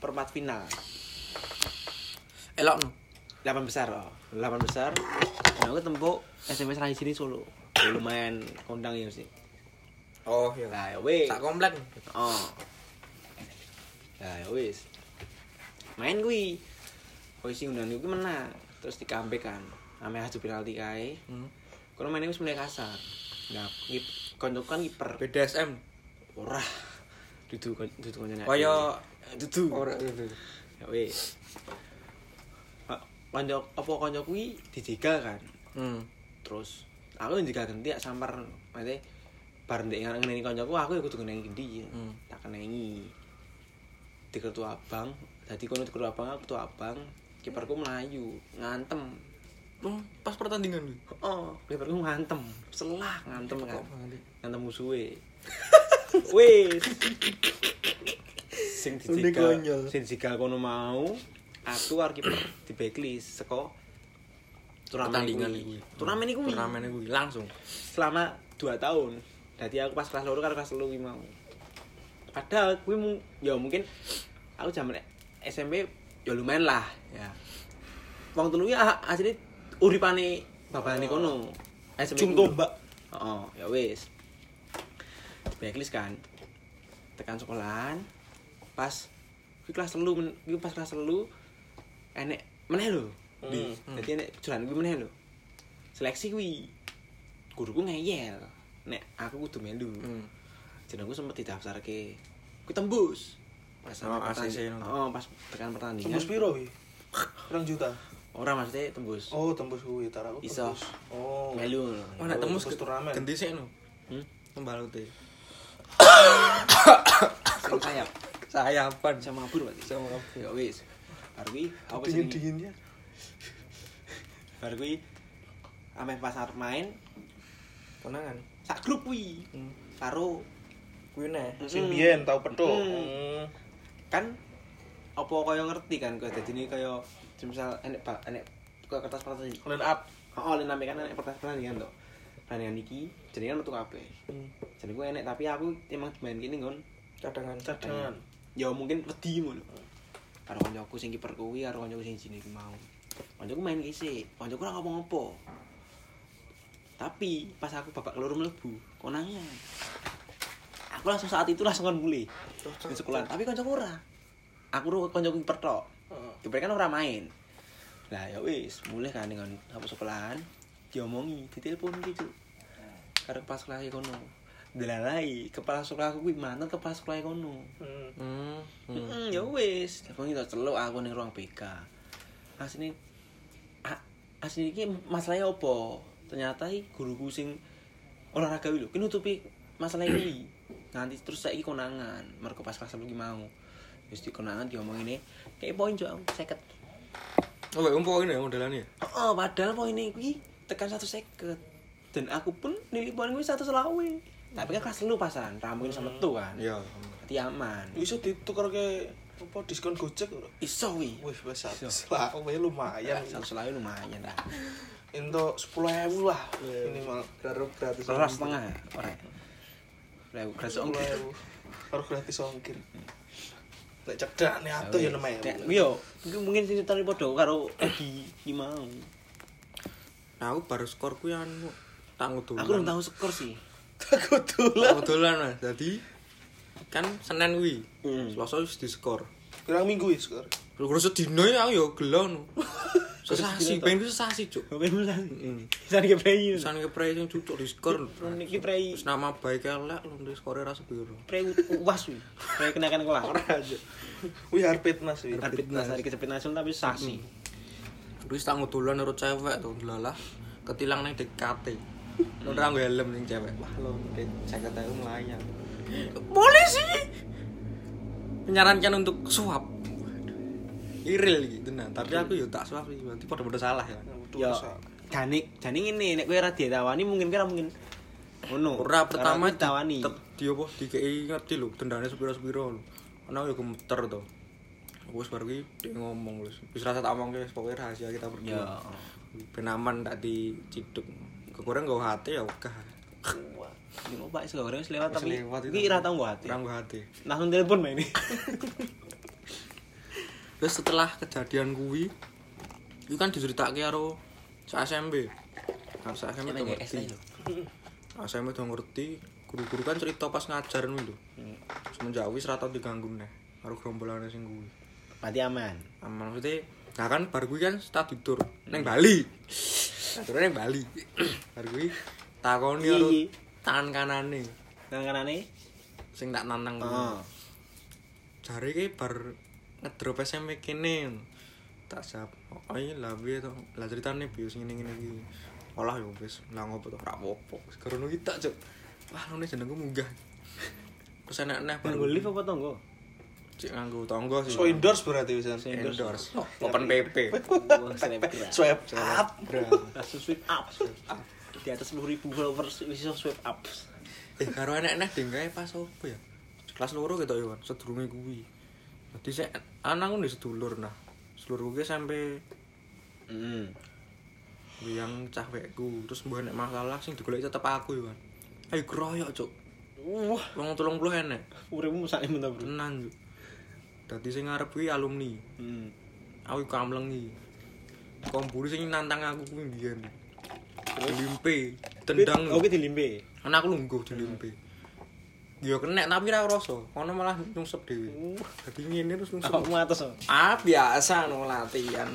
Speaker 1: perempat final
Speaker 4: Elok no.
Speaker 1: delapan besar oh delapan besar nah aku tempuh SMP Serai sini Solo Ya, lumayan kondang ya sih
Speaker 4: Oh iya.
Speaker 1: nah ya weh
Speaker 4: Sak komplek.
Speaker 1: oh nah ya wis main gue posisi undang gue menang terus di comeback kan ame hasil penalti kae
Speaker 4: Hmm.
Speaker 1: kalau mainnya wis mulai kasar nah kip konco kan kiper
Speaker 4: BDSM.
Speaker 1: ora dudu kon- dudu konconya
Speaker 4: Kaya
Speaker 1: dudu
Speaker 4: ora itu.
Speaker 1: ya wis Pak, konco apa konco kuwi dijegal kan
Speaker 4: Hmm.
Speaker 1: terus aku yang juga ganti ya sampar nanti bareng dek ngarang ngene kancaku aku ya kudu ngenengi gendi ya
Speaker 4: Hmm.
Speaker 1: tak kenengi di kertu abang dadi kono di kertu abang aku tuh abang kiperku melayu ngantem
Speaker 4: Oh, pas pertandingan lu.
Speaker 1: oh kiperku ngantem selah ngantem kan
Speaker 4: Kok banget.
Speaker 1: ngantem musuhe wis sing dijegal
Speaker 3: konyol.
Speaker 1: sing dijegal kono mau aku arep kiper di backlist seko turnamen
Speaker 4: Pertandingan
Speaker 1: iki
Speaker 4: iki.
Speaker 1: turnamen iku
Speaker 4: Turnamen iku langsung.
Speaker 1: selama 2 tahun jadi aku pas kelas loro karo kelas telu kuwi mau padahal kuwi mung ya mungkin aku jaman SMP ya lumayan lah ya wong telu ya asline uripane babane kono SMP
Speaker 3: Cung
Speaker 1: kuwi.
Speaker 3: tombak.
Speaker 1: oh ya wis blacklist kan tekan sekolahan pas kuwi kelas telu men- kuwi pas kelas telu enek meneh lho
Speaker 3: Hmm.
Speaker 1: jadi enek jalan kuwi meneh lho seleksi kuwi guruku ngeyel nek aku kudu melu
Speaker 4: Hmm.
Speaker 1: jenengku sempet didaftarke kuwi tembus pas sampe
Speaker 4: Oh,
Speaker 1: pertanding-
Speaker 4: ACC no.
Speaker 1: oh pas tekan pertandingan
Speaker 3: Tembus piro wi? Pirang juta.
Speaker 1: ora maksudnya tembus
Speaker 3: Oh, tembus kuwi taraku.
Speaker 1: Iso.
Speaker 3: tembus. Oh.
Speaker 1: melu no.
Speaker 4: Oh, nek
Speaker 3: Oh,
Speaker 4: tembus
Speaker 3: tembus turnamen.
Speaker 4: Ganti sik no.
Speaker 1: Hmm?
Speaker 4: Pembalute.
Speaker 1: sing sayap
Speaker 4: Sayapan.
Speaker 1: sama mabur berarti
Speaker 4: Sama mabur.
Speaker 1: ya wis bar kuwi aku
Speaker 3: dingin
Speaker 1: sing
Speaker 3: dinginnya.
Speaker 1: bar kuwi ame pasar main
Speaker 4: Konangan.
Speaker 1: sak grup kuwi karo
Speaker 4: Kuwi neh.
Speaker 1: Mm.
Speaker 3: Sing biyen tau petuk.
Speaker 1: Mm. kan apa kaya ngerti kan kaya dadi ini kaya misal enek ba- enek kaya kertas pertandingan
Speaker 3: Hmm. Line up.
Speaker 1: Oh, oleh nami kan enek pertas pertandingan to. Pertandingan iki jenengan metu kabeh. Jadi gue enek tapi aku emang main gini kan.
Speaker 4: Cadangan.
Speaker 3: Cadangan.
Speaker 1: Ya mungkin wedi ngono. Karo kancaku sing kiper kuwi karo kancaku sing jine iki mau. Kancaku main kisi, kancaku ora ngopo-ngopo. Tapi pas aku babak keloro mlebu, konangan. Aku langsung saat itu langsung kan mulai di sekolah. Tapi kancaku ora. Aku ro kancaku kiper tok.
Speaker 3: Heeh.
Speaker 1: Kiper kan ora main. Lah ya wis, mulai kan dengan apa sekolahan diomongi, ditelepon gitu. Karena pas sekolah kono. Delalai, kepala sekolah aku kuwi mantan kepala sekolah kono.
Speaker 3: Hmm.
Speaker 4: Hmm.
Speaker 1: Heeh, ya wis. Aku ngitu celuk aku ning ruang BK. Asline a- asline iki masalahnya apa? Ternyata iki guruku sing olahraga kuwi lho, ki nutupi masalah iki. Nanti terus saiki konangan, mergo pas kelas 10 ki mau. Wis dikonangan diomong ini, kayak poin jo aku 50.
Speaker 4: Oh, wek umpo ini ya modelane.
Speaker 1: Heeh, padahal poin iki tekan 150. Dan aku pun nilai poin gue satu selawe. Tapi kan kelas lu pasan, rambutnya sama tuh kan.
Speaker 4: Iya.
Speaker 1: Berarti aman.
Speaker 3: Iso ditukarke apa diskon Gojek ora?
Speaker 1: Iso wi.
Speaker 3: Wih, wis satu selawe lumayan.
Speaker 1: Satu selawe lumayan lah.
Speaker 3: Entuk 10.000 lah minimal. Karo gratis.
Speaker 1: Kelas setengah, ora. Lah kelas
Speaker 3: Sepuluh
Speaker 1: ongkir. Mm.
Speaker 3: ewu. Karo gratis ongkir. Lek cedak ne atuh ya nemen.
Speaker 1: Nek yo, iki mungkin sing tani padha karo Egi iki mau.
Speaker 4: Nah, aku baru skor ku yang anu tanggu dolan.
Speaker 1: Aku belum tahu skor sih.
Speaker 3: Aku dolan.
Speaker 4: Tanggu dolan Mas. Dadi kan Senin kuwi.
Speaker 1: Hmm.
Speaker 4: Selasa wis diskor.
Speaker 3: Pirang minggu ya skor.
Speaker 4: Lho sedina ya aku ya gelo no. Sesasi, pengen ku sesasi, Cuk.
Speaker 1: Kowe mulai.
Speaker 4: Heeh.
Speaker 1: Pisan iki prei.
Speaker 4: Hmm. Pisan ke prei sing cocok diskor.
Speaker 1: Niki prei
Speaker 4: Wis nama baik elek lho diskore ra sepiro.
Speaker 1: prei uas wi. Prei kenakan kelas.
Speaker 3: Wih harpit mas wih.
Speaker 1: Tapi nasari kecepit nasional tapi sasi.
Speaker 4: Hmm. Wis tanggu dolan karo cewek to delalah. Ketilang nang dekate. Lho ra nggo helm sing cewek. Wah, lho dek jaket aku melayang. Polisi. Menyarankan untuk suap. Iril gitu nah, tapi aku ya tak suap sih, berarti pada-pada salah ya.
Speaker 1: Yo.
Speaker 3: Yo.
Speaker 1: Jani, jani ngene nek kowe ora ditawani mungkin kira mungkin ngono.
Speaker 4: Ora pertama
Speaker 1: ditawani.
Speaker 4: di apa dikei ngerti lho, dendane sepira-sepira lho. Nah, aku yo gemeter to. Aku wis baru iki dia ngomong wis. Wis rasa tak omongke wis pokoke rahasia kita
Speaker 1: Ya. oh.
Speaker 4: berdua. Ben aman tak diciduk. Kegoreng nggo hati ya wegah.
Speaker 1: Wah, ini kok Pak Segoreng wis lewat
Speaker 4: Wis
Speaker 1: tapi
Speaker 4: lewat itu.
Speaker 1: iki ora tau nggo ati.
Speaker 4: Ora nggo hati.
Speaker 1: Langsung telepon main ini.
Speaker 4: Terus setelah kejadian kuwi, itu kan diceritake karo sak SMP. Nah, sak SMP
Speaker 1: Sampe
Speaker 4: tuh
Speaker 1: ngerti.
Speaker 4: ngerti. Nah, SMP tuh ngerti, guru-guru kan cerita pas ngajar ngono lho. Semenjak wis ra tau diganggu neh karo gerombolane sing kuwi.
Speaker 1: Berarti aman.
Speaker 4: Nah, maksudnya, nah kan bar kuwi kan study tour neng Bali. Study neng Bali. bar kuwi takoni karo
Speaker 1: Iya.
Speaker 4: tangan kanane
Speaker 1: Nang kanane?
Speaker 4: sing tak nanang kuwi.
Speaker 1: Heeh.
Speaker 4: jare iki bar ngedrop SMP kene tak siap oh iya lah piye to lah ceritane piye sing ngene ngene iki olah yo wis lah ngopo to ora apa-apa sekarang iki tak cuk wah nune jenengku munggah terus enak enak
Speaker 1: Nganggo lift apa tonggo?
Speaker 4: cek nganggo tangga sih
Speaker 1: Hmm.
Speaker 3: So endorse berarti bisa.
Speaker 4: endorse
Speaker 1: Oh,
Speaker 4: open PP
Speaker 1: Wah, selebgram.
Speaker 3: Swipe up.
Speaker 1: Langsung swipe up. Di atas 10.000 followers wis iso swipe up.
Speaker 4: eh karo enak enak ding kae pas opo ya kelas loro gitu ya Wan, sedurunge kuwi dadi sik anakku ndek sedulur nah sedulurku ki sampe
Speaker 1: Heeh.
Speaker 4: yang cah wekku terus mbah nek masalah sing digoleki tetep aku yo kan ayo groyok cuk
Speaker 1: Wah,
Speaker 4: wong 30 enek
Speaker 1: uripmu sakne men ta, Bro.
Speaker 4: tenan cuk dadi sing ngarep kuwi alumni
Speaker 1: Hmm.
Speaker 4: aku kamlengi komburi sing nantang aku kuwi mbiyen limpe tendang
Speaker 1: Oke dilimpe.
Speaker 4: ana aku lungguh dilimpe yo kena tapi ra rasa kono malah nyungsep dhewe dadi ngene terus nyungsep
Speaker 1: Awakmu atas. oh.
Speaker 4: ah biasa no latihan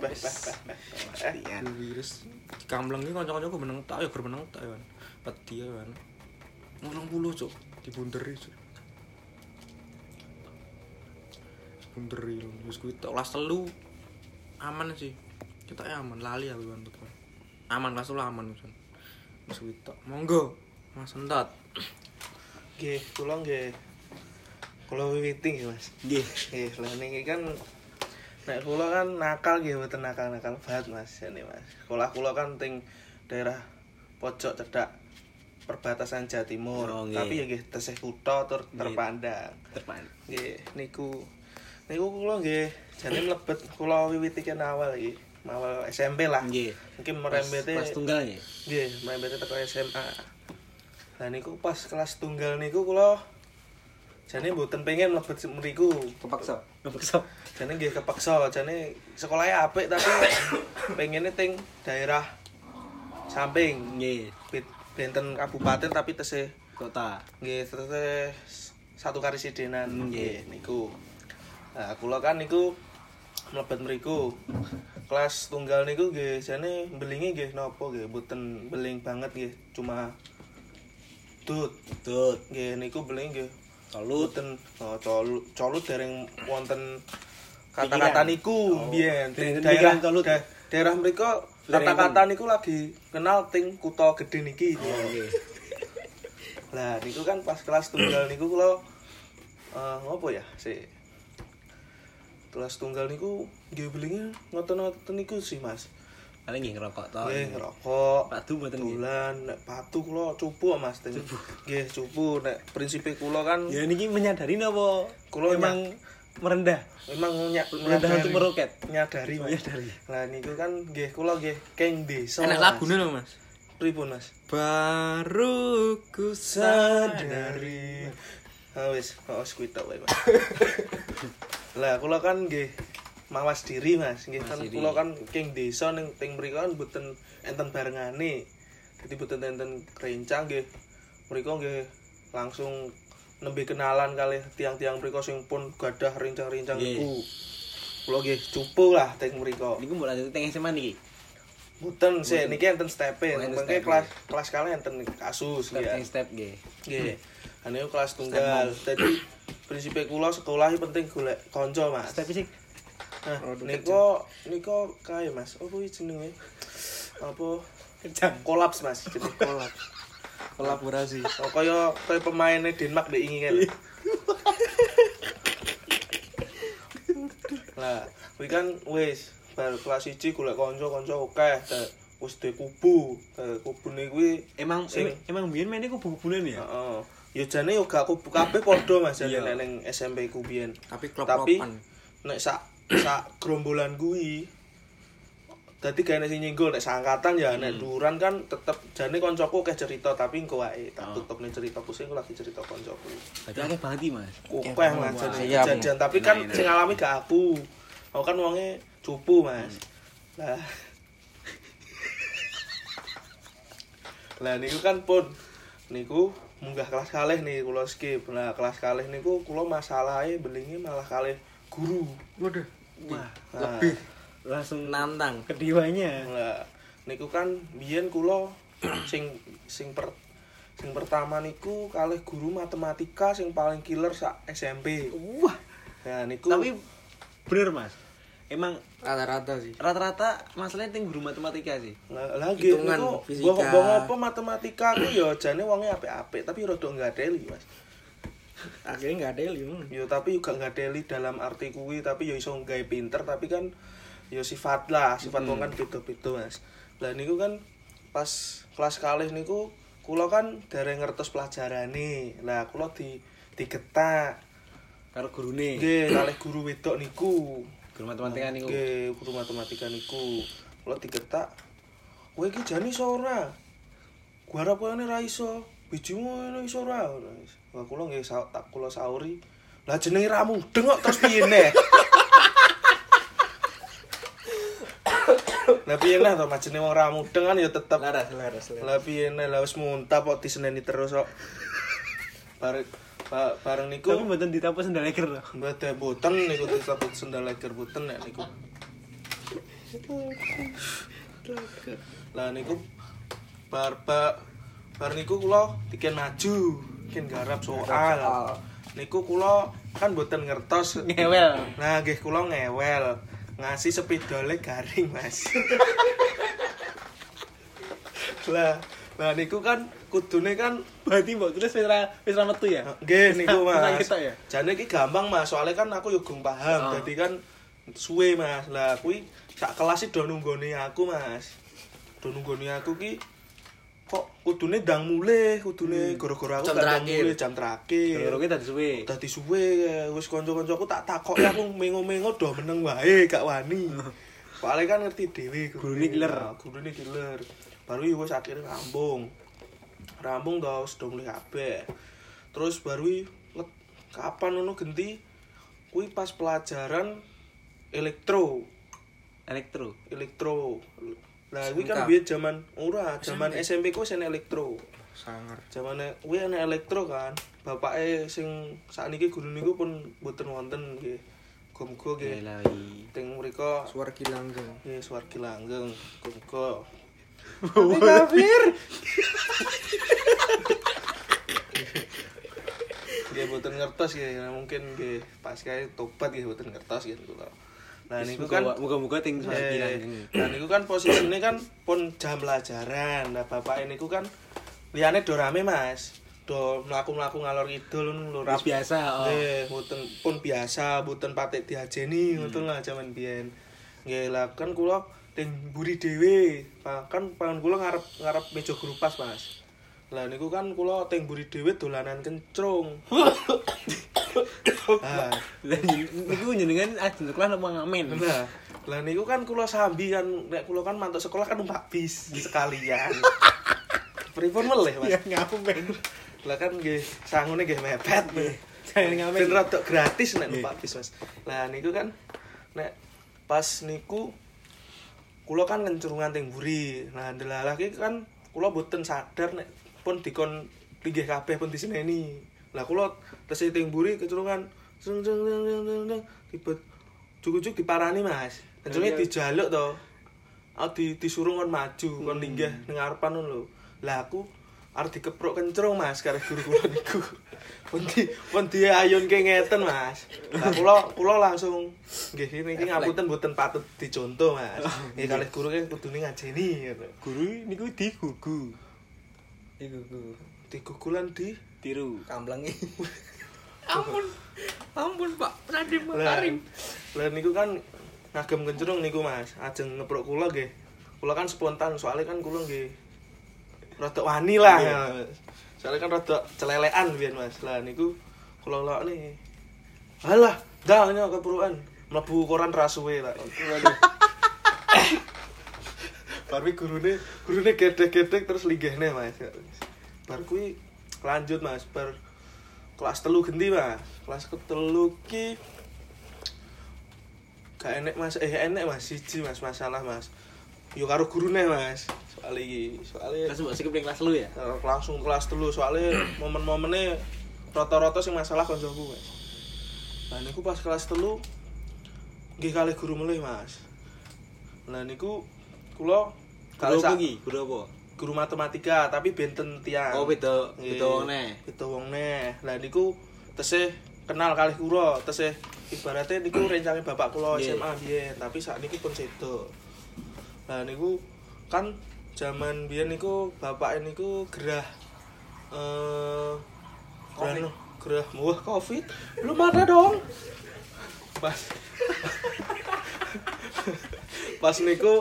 Speaker 1: Pastian.
Speaker 4: virus kamleng iki kanca-kancaku meneng tak ya gur meneng tak ya. Pedi ya. kan. 80 cuk, dibunderi cuk. Dibunderi Ya wis kuwi tok kelas 3 aman sih. Cetake aman lali aku kan tekan. Aman kelas 3 aman Cuk. Wis kuwi tok. Monggo Mas Entot.
Speaker 3: Nggih, kula nggih. Kula wiwiting ya, Mas.
Speaker 1: Nggih.
Speaker 3: Nggih, lah niki kan nek kula kan nakal nggih mboten nakal-nakal banget, Mas. Ini, Mas. Sekolah kula kan ting daerah pojok cedak perbatasan Jawa Timur,
Speaker 1: Oh, nggih.
Speaker 3: tapi ya nggih tesih kutha tur terpandang.
Speaker 1: Terpan.
Speaker 3: Nggih, niku niku kula nggih jane mlebet kula wiwiti kan awal iki, awal SMP lah.
Speaker 1: Nggih.
Speaker 3: Mungkin
Speaker 1: Pas,
Speaker 3: merembete
Speaker 1: pas tunggal ya.
Speaker 3: Nggih, mlebete teko SMA. Lah niku pas kelas tunggal niku kula jane mboten pengen mlebet mriku.
Speaker 4: Kepaksa.
Speaker 1: Ngepeksa.
Speaker 3: Jane nggih kepaksa, jane sekolahnya apik tapi pengennya ting daerah samping
Speaker 1: Nggih.
Speaker 3: Bit- benten kabupaten tapi tesih
Speaker 1: Kota.
Speaker 3: nggih tesih satu karisidenan
Speaker 1: Hmm, Nggih.
Speaker 3: nggih niku. Nah, kula kan niku mlebet mriku. Kelas tunggal niku nggih jane belinge nggih napa nggih mboten beling banget nggih, cuma dut.
Speaker 1: Tut.
Speaker 3: Nggih niku beling nggih
Speaker 1: Colut.
Speaker 3: mboten oh, colut, colut dereng wonten kata-kata niku
Speaker 1: Oh.
Speaker 3: biyen
Speaker 1: Dereng
Speaker 3: daerah
Speaker 1: pikiran colut.
Speaker 3: da- daerah mriko
Speaker 1: Dereng
Speaker 3: kata-kata niku lagi kenal ting kutha gede niki.
Speaker 1: Nggih.
Speaker 3: Lah niku kan pas kelas tunggal niku kula eh ngopo ya sik. Kelas tunggal niku nggih belinge ngoten-ngoten niku sih Mas.
Speaker 1: Paling nggih ngerokok to.
Speaker 3: Nggih ngerokok.
Speaker 1: Padu mboten iya. nggih.
Speaker 3: Dolan nek patu kula cupu Mas. Ting. Nggih cupu nek prinsipe kula kan
Speaker 1: Ya niki menyadari napa?
Speaker 3: Kulo
Speaker 1: memang merendah.
Speaker 3: memang nyak
Speaker 1: Merendah untuk meroket.
Speaker 3: nyadari Mas.
Speaker 1: Menyadari.
Speaker 3: Lah niku kan nggih kula nggih keng desa.
Speaker 4: Enak
Speaker 3: Mas.
Speaker 4: lagune lho Mas.
Speaker 3: Pripun Mas?
Speaker 4: Baru ku sadari
Speaker 3: Ah wis, kok wis kuwi tok wae, Mas. Lah kula kan nggih mawas diri, Mas. Nggih kan kula kan king desa ning ting mriku kan mboten enten barengane. Dadi mboten enten rencang nggih. Mriku nggih langsung nembe kenalan kali tiang-tiang mriku sing pun gadah rencang-rencang
Speaker 1: Nggih.
Speaker 3: iku. Kula nggih cupu lah ting mriku.
Speaker 1: Niku mbok lanjut teng SMA niki.
Speaker 3: Mboten sih niki enten
Speaker 1: Oh,
Speaker 3: stepe,
Speaker 1: enten
Speaker 3: mengke
Speaker 1: stepe.
Speaker 3: kelas kelas kali enten kasus
Speaker 1: Step
Speaker 3: nggih.
Speaker 1: teng step nggih.
Speaker 3: Nggih. Ane yo kelas tunggal. Dadi prinsipe kula sekolah iki penting golek kanca, Mas.
Speaker 1: Step sih
Speaker 3: Nah, niko niko kae, Mas. Apa iki jenenge? Apa
Speaker 1: kejam.
Speaker 3: kolaps, Mas? Jadi kolaps.
Speaker 4: kolaborasi.
Speaker 3: Oh, kaya kaya pemainnya Denmark dek ingin kan. Lah, kuwi kan wis bar kelas 1 golek kanca-kanca akeh. Dek, Wis de kubu. Dek, Kubune kuwi
Speaker 1: Emang
Speaker 3: Sing.
Speaker 1: emang biyen mene kubu-kubunan ya?
Speaker 3: Heeh. yo jane yo gak aku kabeh padha Mas jane
Speaker 4: Iya.
Speaker 3: nek ning SMP ku biyen.
Speaker 4: Tapi
Speaker 3: Tapi
Speaker 4: klop-klopan.
Speaker 3: nek sak sak gerombolan kuwi dadi gak enek sing nyenggol nek seangkatan ya nek duran kan tetep jane koncoku akeh cerita tapi engko wae tak tutupne ceritaku sing aku lagi cerita koncoku.
Speaker 1: Berarti akeh banget iki, Mas.
Speaker 3: Kokeh Mas jane
Speaker 4: Siap.
Speaker 3: jajan tapi kan
Speaker 1: Nah, iya.
Speaker 3: sing alami gak aku. Aku kan wonge cupu Mas. Lah Lah niku kan pun niku munggah kelas kalih nih kula skip. Nah, kelas kalih niku kula masalahe belinge malah kalih guru.
Speaker 2: Waduh.
Speaker 1: Wah,
Speaker 3: Nah,
Speaker 1: langsung
Speaker 4: Eh, nantang.
Speaker 1: kedewanya.
Speaker 3: Lah, niku kan biyen kula sing sing per sing pertama niku kalih guru matematika sing paling killer sak SMP.
Speaker 1: Wah,
Speaker 3: Nah, niku
Speaker 1: tapi bener, Mas. Emang
Speaker 4: Rata-rata sih.
Speaker 1: rata-rata masalahnya ting guru matematika sih.
Speaker 3: Lah- lagi
Speaker 4: Hitungan,
Speaker 3: niku
Speaker 4: fisika.
Speaker 3: bohong bohong apa matematika ku ya jane wonge apik-apik tapi rada ngadeli, Mas.
Speaker 4: Akhirnya nggak ada yang
Speaker 3: Yo tapi juga ngadeli dalam arti kuwi tapi yo iso gawe pinter tapi kan yo sifat lah, sifat wong kan beda-beda, Mas. Lah niku kan pas kelas kalih niku kula kan dereng ngertos pelajarane. Lah kula di digetak
Speaker 1: Karo gurune,
Speaker 3: nggih kalih guru wedok niku.
Speaker 1: guru matematika niku.
Speaker 3: Nggih, guru matematika niku. Kula digetak. Kowe iki jane iso ora? Gua harap kowe ini ra iso. Bijimu ini iso ora. Lah kula nggih sa- tak kula sauri. Lah jenenge ra mudeng kok terus piye neh? Lah piye neh to majene wong ra mudeng kan ya tetep
Speaker 4: Laras, laras, laras.
Speaker 3: lah piye neh lah wis muntah kok diseneni terus kok. Bareng ba- bareng niku
Speaker 1: Tapi mboten ditampa sendal eger loh.
Speaker 3: Mbak boten niku disebut sendal leger boten nek niku. Lah niku bar bar bar niku kula diken maju, ken garap soal. Niku kula kan boten ngertos.
Speaker 1: Ngewel.
Speaker 3: Nah, nggih kula ngewel. Ngasih sepidole garing, Mas. lah, lah niku kan kudune kan
Speaker 1: Berarti mbok terus wis ra wis ra metu ya?
Speaker 3: Nggih niku Mas.
Speaker 1: Ketok ya?
Speaker 3: Jane iki gampang Mas, soalnya kan aku yo gong paham. Dadi kan suwe Mas. Lah kuwi sak kelas sih do nunggone aku Mas. Do nunggone aku ki kok kudune ndang mulih, kudune gara-gara aku
Speaker 4: Jam
Speaker 3: gak ndang
Speaker 4: terakhir.
Speaker 3: mulih jam
Speaker 1: Iya. Guru
Speaker 3: terakhir.
Speaker 1: kita tadi suwe.
Speaker 3: Dadi suwe eh, wis kanca-kancaku tak takoki aku mengo-mengo do meneng wae gak wani. Soalnya kan ngerti dhewe
Speaker 1: Gurune killer.
Speaker 3: Nah, Gurune killer. Baru yo wis akhirnya rambung. rambung tau sedang mulih kabeh. Terus baru i, let, kapan ngono genti kuwi pas pelajaran elektro,
Speaker 1: Elektro.
Speaker 3: elektro. Lah kuwi kan
Speaker 4: SMK.
Speaker 3: biyen zaman ora, zaman SMP ku sen elektro.
Speaker 4: Sangar.
Speaker 3: Zamane kuwi ana elektro kan. Bapake sing sakniki guru niku pun mboten wonten nggih. Gumgo nggih.
Speaker 1: Yalah, i.
Speaker 3: Teng mriko
Speaker 4: Suara kilanggeng.
Speaker 3: nggih swargi langgeng gumgo.
Speaker 1: Kafir.
Speaker 3: Nggih mboten ngertos nggih, Nah, mungkin nggih pas kae tobat nggih mboten ngertos gitu kula. Nah niku kan
Speaker 1: muga-muga ting suara
Speaker 3: Eh,
Speaker 1: kilang.
Speaker 3: nah niku kan posisine kan pun jam pelajaran. Nah bapak niku kan liyane do rame Mas. Do mlaku-mlaku ngalor kidul lho
Speaker 1: Wis biasa, oh.
Speaker 3: Nggih, mboten pun biasa, mboten patek diajeni
Speaker 1: Hmm.
Speaker 3: ngoten lah jaman biyen. Nggih, lah kan kula ting mburi dhewe. Pak, Kan pangan kula ngarep ngarep meja guru pas, Mas. Lah niku kan kula ting mburi dhewe dolanan kencrung. Ah,
Speaker 1: Lah jen- niku jenengan ajeng sekolah nek ngamen.
Speaker 3: Nah, lah niku kan kula sambi kan nek kula kan mantuk sekolah kan numpak bis sekalian. Pripun meleh, Mas?
Speaker 1: ngamen.
Speaker 3: Lah kan nggih sangune nggih mepet.
Speaker 1: Jangan ngamen.
Speaker 3: Ben rodok gratis nek numpak bis, Mas. Lah niku kan nek pas niku kula kan ngencurungan teng mburi. Nah, delalah ki kan kula boten sadar nek pun dikon pinggih kabeh pun diseneni. Lah kula tesih teng mburi kencurungan jeng jeng jeng jeng jeng jeng tiba cukup-cukup diparani, Mas. Kencurunge dijaluk to. Aku di, disuruh kon maju, kon linggah ning ngarepan ngono lho. Lah aku arep dikeprok kencurung, Mas, karo guru kula niku. Pun di pun diayunke ngeten, Mas. Lah kula kula langsung nggih niki ngapunten mboten patut dicontoh, Mas. Nggih kalih guru kan kudune ngajeni ngono.
Speaker 1: Guru niku digugu.
Speaker 4: Iku ku.
Speaker 3: Digugulan di
Speaker 1: Tiru.
Speaker 4: Kamblangi. ampun. Ampun, Pak. Radim Pak
Speaker 3: Lah,
Speaker 4: Karim.
Speaker 3: Lah niku kan ngagem kencurung niku Mas. Ajeng ngeprok kula nggih. Kula kan spontan soalnya kan kula nggih rada wani lah. soalnya kan rada celelean biyen Mas lah niku kula lakne alah dah nyo keburuan mlebu koran rasuwe lah Barwi gurune gurune gedek-gedek terus ligehne Mas bar kuwi lanjut Mas bar kelas telu genti Mas kelas ketelu ki gak enek mas eh enek mas siji mas masalah mas yuk karo gurune mas soal iki soalnya
Speaker 1: Kelas mbok skip ning kelas lu ya.
Speaker 3: Eh, langsung kelas dulu soalnya momen-momennya rata-rata sing masalah koncoku mas nah niku pas kelas telu nggih kali guru melih mas nah niku kula
Speaker 1: Guru
Speaker 3: kali
Speaker 1: apa
Speaker 3: sak-
Speaker 1: iki? Guru apa?
Speaker 3: guru matematika tapi benten tiang
Speaker 1: Oh, beda beda
Speaker 3: Nggih,
Speaker 1: wong neh.
Speaker 3: beda wong neh lah niku tesih kenal kali kula tesih ibaratnya niku rencange bapak kula
Speaker 1: Nggih.
Speaker 3: SMA biyen tapi saat niku pun sedo lah niku kan zaman biyen niku bapak niku gerah eh gerah no- gerah wah covid belum ada dong pas pas niku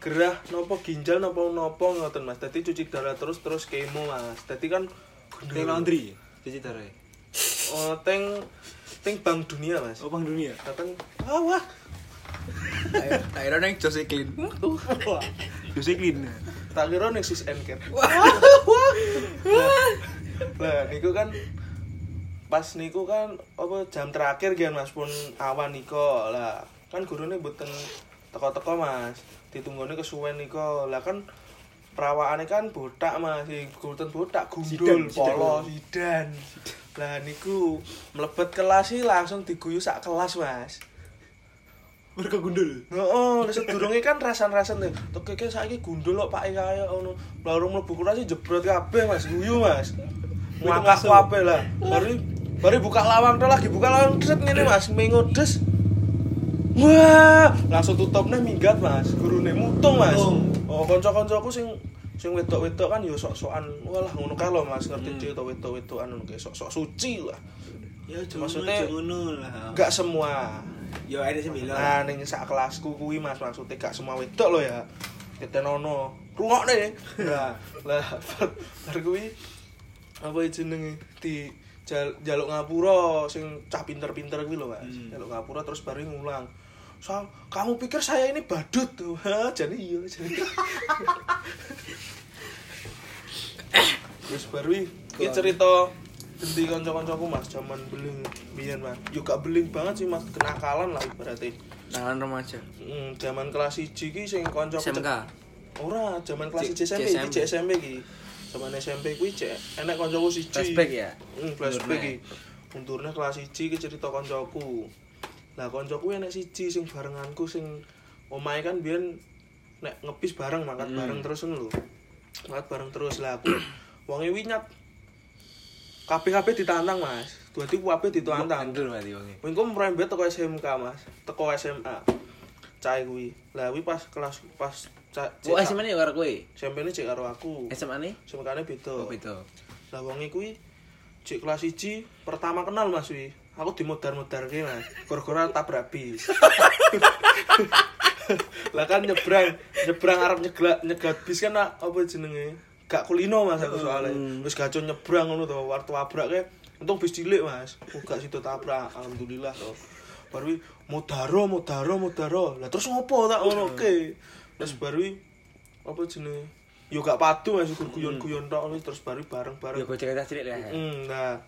Speaker 3: gerah nopo ginjal nopo nopo ngoten mas tadi cuci darah terus terus kemo mas tadi kan
Speaker 1: Ning laundry. Cuci darah.
Speaker 3: oh, teng teng bank dunia mas
Speaker 1: Oh, Bang Dunia.
Speaker 3: datang ah wah
Speaker 4: Tak kira neng Josephine.
Speaker 3: wah
Speaker 1: Josephine.
Speaker 3: tak kira nih sis enker wah nah niku kan pas niku kan apa jam terakhir kan mas pun awan niko lah kan gurune buten teko-teko mas ditunggone kesuwen niko lah kan perawaannya kan botak mas Ih, guruten botak gundul
Speaker 1: Sidan, sidan.
Speaker 3: polos sidan lah niku melebet kelas sih langsung diguyu sak kelas mas
Speaker 1: Mereka gundul.
Speaker 3: Heeh, lek sedurunge kan rasan-rasan tuh. Tekeke saiki gundul kok pake kaya ngono. Baru mlebu kelas jebrot kabeh Mas, guyu Mas. Ngakak kabeh lah. Baru baru buka lawang tuh lagi buka lawang set ngene Mas, mengodes. Wah, langsung tutupnya minggat Mas, gurune mutung Mas. Oh, kanca-kancaku sing sing wedok-wedok kan yo sok-sokan. Walah ngono kae lho Mas, ngerti dhewe to wedok-wedokan ngono kae sok-sok suci lah.
Speaker 1: Ya, cuma
Speaker 3: Maksudnya-
Speaker 1: ngono lah.
Speaker 3: Enggak semua.
Speaker 1: Yo, ada sing bilang.
Speaker 3: Nah, ning sak kelasku kuwi Mas maksudnya gak semua wedok lo ya. Ketenono. Rungokne. Nah, lah bar bar kuwi apa jenenge di jal, jaluk ngapura sing cah pinter-pinter kuwi lho Mas. Jaluk ngapura terus baru ngulang. Soal kamu pikir saya ini badut tuh. Hah, jadi iya, jadi. terus baru iki cerita ganti kanca-kancaku Mas zaman beling biyen Mas. Yo gak beling banget sih Mas, kenakalan lah ibaratnya.
Speaker 4: Tangan remaja.
Speaker 3: Hmm, zaman kelas 1 ki sing kanca
Speaker 4: SMK.
Speaker 3: Ora, zaman kelas
Speaker 4: Cek-
Speaker 3: 1 SMP,
Speaker 4: SMP.
Speaker 3: iki cek SMP ki. Zaman SMP kuwi cek enek kancaku siji.
Speaker 1: Flashback ya?
Speaker 3: Hmm, flashback
Speaker 1: Mundurne.
Speaker 3: iki. Mundurne kelas 1 ki cerita kancaku. Lah kancaku enek siji sing barenganku sing omahe kan biyen nek ngepis bareng mangkat
Speaker 1: Hmm.
Speaker 3: bareng terus ngono lho. Mangkat bareng terus lah aku. Wonge winyat. Kabeh-kabeh ditantang, Mas. Dadi kabeh ditantang.
Speaker 1: Gundul berarti wonge.
Speaker 3: Wingku merembet teko SMK, Mas. Teko SMA. Cai kuwi. Lah kuwi pas kelas pas cai.
Speaker 1: Oh, SMA ne yo karo kowe.
Speaker 3: SMP ne cek karo aku.
Speaker 1: SMA ne?
Speaker 3: SMK ne beda.
Speaker 1: Oh, beda.
Speaker 3: Lah wonge kuwi cek kelas 1 pertama kenal Mas kuwi. Aku dimodar-modarke, Mas. Gara-gara tabrak bis. lah kan nyebrang, nyebrang arep nyeglak nyegat bis kan nak, apa jenenge? Gak kulino Mas aku soalnya. Wis gacon nyebrang ngono to, war tabrak ke. Untung bis cilik, Mas. Aku gak sido tabrak, alhamdulillah to. Baru kuwi, modaro, modaro, modaro. Lah terus ngopo tak ngono ke? Terus baru kuwi, apa jenenge? Yo gak padu Mas guyon-guyon tok wis, terus baru bareng-bareng.
Speaker 1: Yo bocah cerita cilik lah.
Speaker 3: Mm, nah,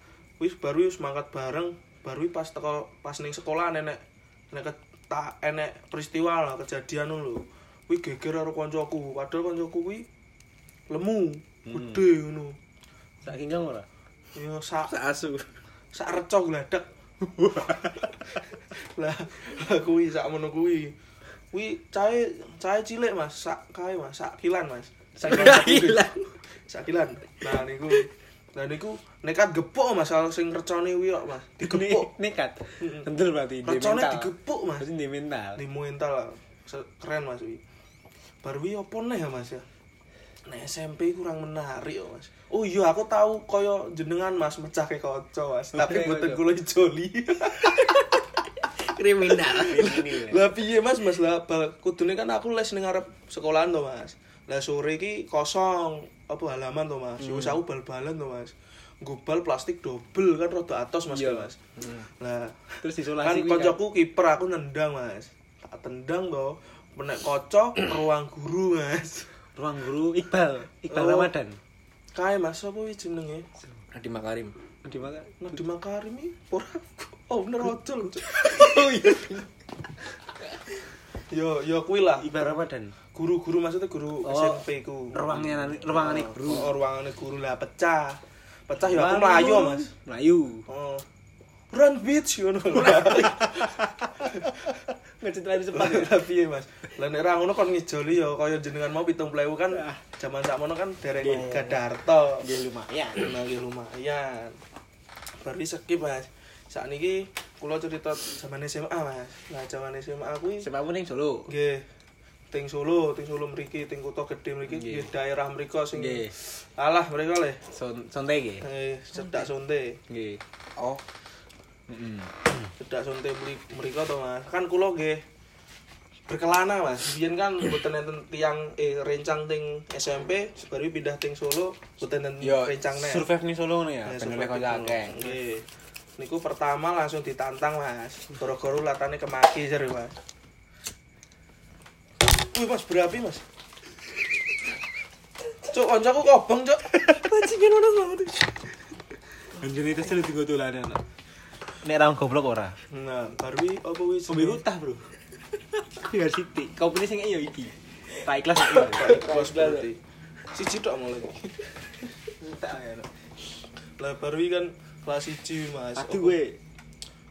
Speaker 3: wis baru wis mangkat bareng, baru wis pas teko pas ning sekolah nenek nek ta enek peristiwa lah kejadian lho. Kuwi geger karo koncoku, padahal koncoku kuwi lemu, gede ngono.
Speaker 1: Sak kinjang ora?
Speaker 3: Ya sak
Speaker 4: Tak asu.
Speaker 3: sak reca gladek. lah, lah kuwi sak ngono kuwi. Kuwi cae cae cilik Mas, sak kae Mas, sak kilan Mas. Sak
Speaker 4: Kilan.
Speaker 3: Sak kilan. Nah niku. Nah niku nekat gepuk Mas kalau sing recone kuwi kok Mas. Digepuk.
Speaker 1: Nekat. Gundul berarti di
Speaker 3: Recone
Speaker 1: mental.
Speaker 3: digepuk Mas.
Speaker 1: Berarti di mental.
Speaker 3: Di mental lah. Se- keren Mas kuwi. Baru kuwi opo neh ya Mas ya? Nah SMP kurang menarik kok Mas. Oh iya aku tahu koyo jenengan Mas mecahke kaca Mas, tapi
Speaker 1: Oke,
Speaker 3: boten
Speaker 1: kocok.
Speaker 3: kula joli.
Speaker 4: Kriminal.
Speaker 3: Lah piye Mas, Mas lah bal- kudune kan aku les ning arep sekolahan to Mas. Lah sore iki kosong. apa halaman to Mas.
Speaker 1: Hmm.
Speaker 3: Yo wis aku bal-balan to Mas. Nggo bal plastik double kan rada atos Mas
Speaker 1: Iya.
Speaker 3: Mas. Nah,
Speaker 1: Terus
Speaker 3: kan
Speaker 1: disolasi kuwi kan.
Speaker 3: koncoku kiper aku nendang Mas. Tak tendang to. Menek kocok ke ruang guru Mas.
Speaker 1: Ruang guru Iqbal, Iqbal
Speaker 3: Oh.
Speaker 1: Ramadan.
Speaker 3: Kae Mas apa iki jenenge?
Speaker 4: Adi Makarim.
Speaker 1: Di mana?
Speaker 3: Nadi Makarim iki ora oh bener ojol.
Speaker 1: Oh iya.
Speaker 3: Yo yo kuwi lah.
Speaker 1: Iqbal Ramadan.
Speaker 3: Guru-guru maksudnya guru
Speaker 1: Oh.
Speaker 3: SMP ku.
Speaker 1: Ruangnya ruangan guru.
Speaker 3: Oh, ruangannya guru lah pecah. Pecah ya aku melayu Mas.
Speaker 1: Melayu.
Speaker 3: Oh. Run bitch ngono.
Speaker 1: Ngecetrani sepak.
Speaker 3: Tapi ya Mas. Lah nek ra ngono kon ngijoli ya kaya jenengan mau 70 kan jaman sakmono kan dereng gadarto.
Speaker 1: Nggih lumayan.
Speaker 3: Nah, ya lumayan. Baru skip Mas. Saat niki kula cerita zaman SMA Mas. Nah, zaman SMA kuwi
Speaker 1: Sepak ning Solo.
Speaker 3: nggih ting Solo, ting Solo mriki, ting kota gede mriki, nggih daerah mriko sing
Speaker 1: Nggih.
Speaker 3: alah mereka le.
Speaker 1: Son sonte nggih.
Speaker 3: Eh, cedak sonte.
Speaker 1: Nggih.
Speaker 4: Oh,
Speaker 1: Heeh.
Speaker 3: cedak sonte beli mereka to mas kan kulo nggih berkelana mas biyen kan boten enten tiang eh rencang ting SMP baru pindah ting Solo boten enten rencang nek
Speaker 1: survive ning Solo ngono ya. Pendule
Speaker 3: Nah, survive
Speaker 1: kanca
Speaker 3: ting Solo.
Speaker 1: akeh.
Speaker 3: Nggih. niku pertama langsung ditantang mas goro-goro latane kemaki jare mas wih mas berapi mas Cuk, koncoku kobong, Cuk. Pancingan ono banget.
Speaker 1: Anjene itu sering digo
Speaker 4: ya,
Speaker 1: dolanan. Nek ra goblok ora.
Speaker 3: Nah, baru wi apa wis?
Speaker 1: Ombe utah, Bro. University. Kau pilih sing ya iki. Tak ikhlas aku.
Speaker 3: Bos berarti. Siji tok mulai.
Speaker 1: ya,
Speaker 3: Lah baru iki kan kelas 1 Mas.
Speaker 1: Aduh
Speaker 3: Apa-
Speaker 1: gue.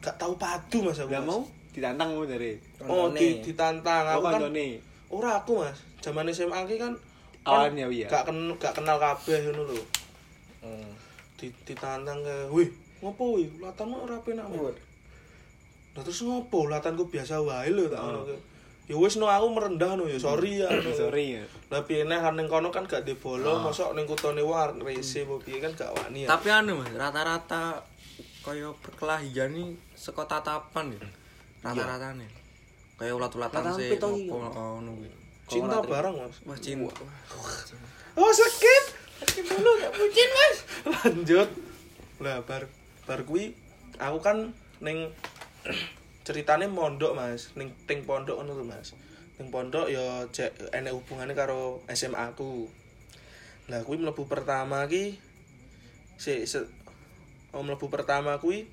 Speaker 3: Gak tahu padu Mas aku.
Speaker 1: Enggak
Speaker 3: Mas.
Speaker 1: mau Oh, ditantang mau dari.
Speaker 3: Oh, di, ditantang
Speaker 1: Aku
Speaker 3: aku kan.
Speaker 1: kancane.
Speaker 3: Ora aku Mas. Zaman SMA ki kan
Speaker 1: Awan
Speaker 3: kan
Speaker 1: ya, Wi, ya?
Speaker 3: Gak ken, gak kenal kabeh ngono lho.
Speaker 4: Hmm.
Speaker 3: Di, ditantang ke, "Wih, ngopo wih? Latanmu ora penak, Mas." Lah terus ngopo? Latanku biasa wae lho tak ngono ke. Ya wis no aku merendah no ya sorry ya. no.
Speaker 1: Oh. Sorry ya.
Speaker 3: Lah piye nek kan ning kono kan gak dibolo, mosok ning kutone war rese apa piye kan gak wani ya.
Speaker 4: tapi anu mas, rata-rata kaya perkelahian nih seko tatapan ya. Rata-rata nih. Kaya ulat-ulatan
Speaker 1: Tatapan
Speaker 4: sih.
Speaker 1: pitung iya.
Speaker 4: ngopo, Oh, ngono kuwi.
Speaker 3: cinta bareng Mas.
Speaker 4: Wah, cinta.
Speaker 3: Oh, sakit. Sakit dulu gak bucin, Mas. Lanjut. Lah bar bar kuwi aku kan ning ceritane mondok, Mas. Ning ting pondok ngono lho, Mas. Ning pondok ya cek enek hubungane karo SMA aku. Lah kuwi mlebu pertama ki si, se, oh, mlebu pertama kuwi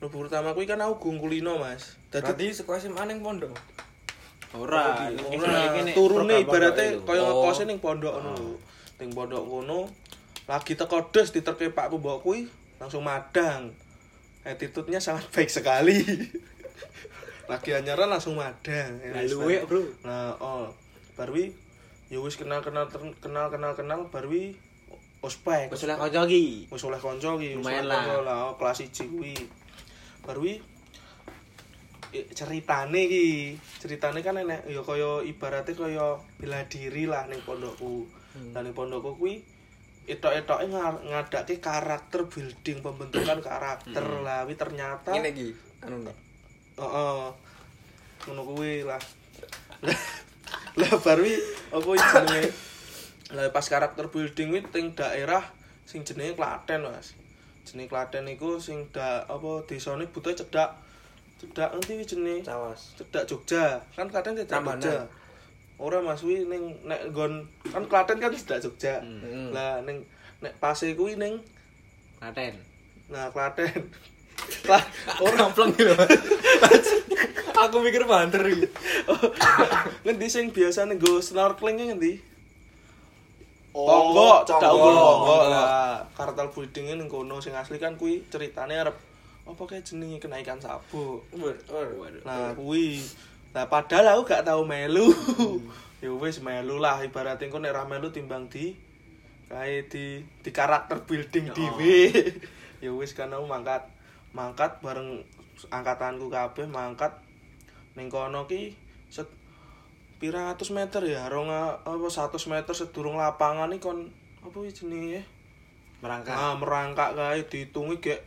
Speaker 3: mlebu pertama kuwi kan aku gungkulino, Mas. Dadi
Speaker 4: Berarti seko SMA ning pondok.
Speaker 1: Ora.
Speaker 3: Ora, Nah, turune ibarate kaya
Speaker 4: Oh.
Speaker 3: ngekose ning pondok ngono
Speaker 1: Ah.
Speaker 3: lho. Ning pondok kono lagi teko des diterke Pak Mbok kuwi langsung madang. Attitude-nya sangat baik sekali. lagi anyaran langsung madang. ya
Speaker 1: Lah luwe, Bro.
Speaker 3: Nah, oh, Barwi ya wis kenal-kenal ter- kenal-kenal kenal Barwi ospek.
Speaker 1: Wis oleh kanca iki.
Speaker 3: wis oleh kanca iki wis
Speaker 1: Lumayan
Speaker 3: oleh
Speaker 1: lah.
Speaker 3: kanca lah oh, kelas 1 kuwi baru iki eh, ceritane iki ceritane kan enek ya kaya ibaratnya kaya bela diri lah ning pondokku hmm. ning pondokku kuwi etok-etoke nga- ngadake karakter building pembentukan karakter lah kuwi ternyata
Speaker 4: Ngene iki, anu nih.
Speaker 3: Heeh. Ngono kuwi lah. Lah- Lah baru iki apa iki jenenge? Lah pas karakter building kuwi teng daerah sing jenenge Klaten, Mas. Jenenge Klaten iku sing da apa desane butuh cedak cedak nanti kuwi jenenge
Speaker 4: Cawas.
Speaker 3: cedak Jogja. Kan Klaten cedak
Speaker 4: Tambanan.
Speaker 3: Jogja. Ora Mas kuwi ning nek nggon kan Klaten kan cedak Jogja.
Speaker 4: Hmm.
Speaker 3: Lah ning nek pase kuwi ning
Speaker 1: Klaten.
Speaker 3: nah Klaten. Lah ora
Speaker 4: Kampleng lho. Aku mikir banter iki.
Speaker 3: Oh. ngendi sing biasa nggo snorkeling ki ngendi?
Speaker 1: Oh,
Speaker 4: Oh,
Speaker 3: Tonggo,
Speaker 1: Tonggo.
Speaker 3: tonggo, tonggo
Speaker 4: Tonggo.
Speaker 3: lah. Nah, Kartel buildingnya ning kono sing asli kan kuwi ceritane arep apa kayak jenenge kenaikan sabuk.
Speaker 4: Waduh.
Speaker 3: Nah, kuwi. Nah, padahal aku gak tau melu. ya wis melu lah ibaratnya engko nek ra melu timbang di kae di di karakter building dhewe. ya wis kan aku mangkat mangkat bareng angkatanku kabeh mangkat ning kono ki set pirang atus meter ya rong apa 100 meter sedurung lapangan iki kon apa iki jenenge
Speaker 1: Merangkak.
Speaker 3: Ah, merangkak kae dihitungi gek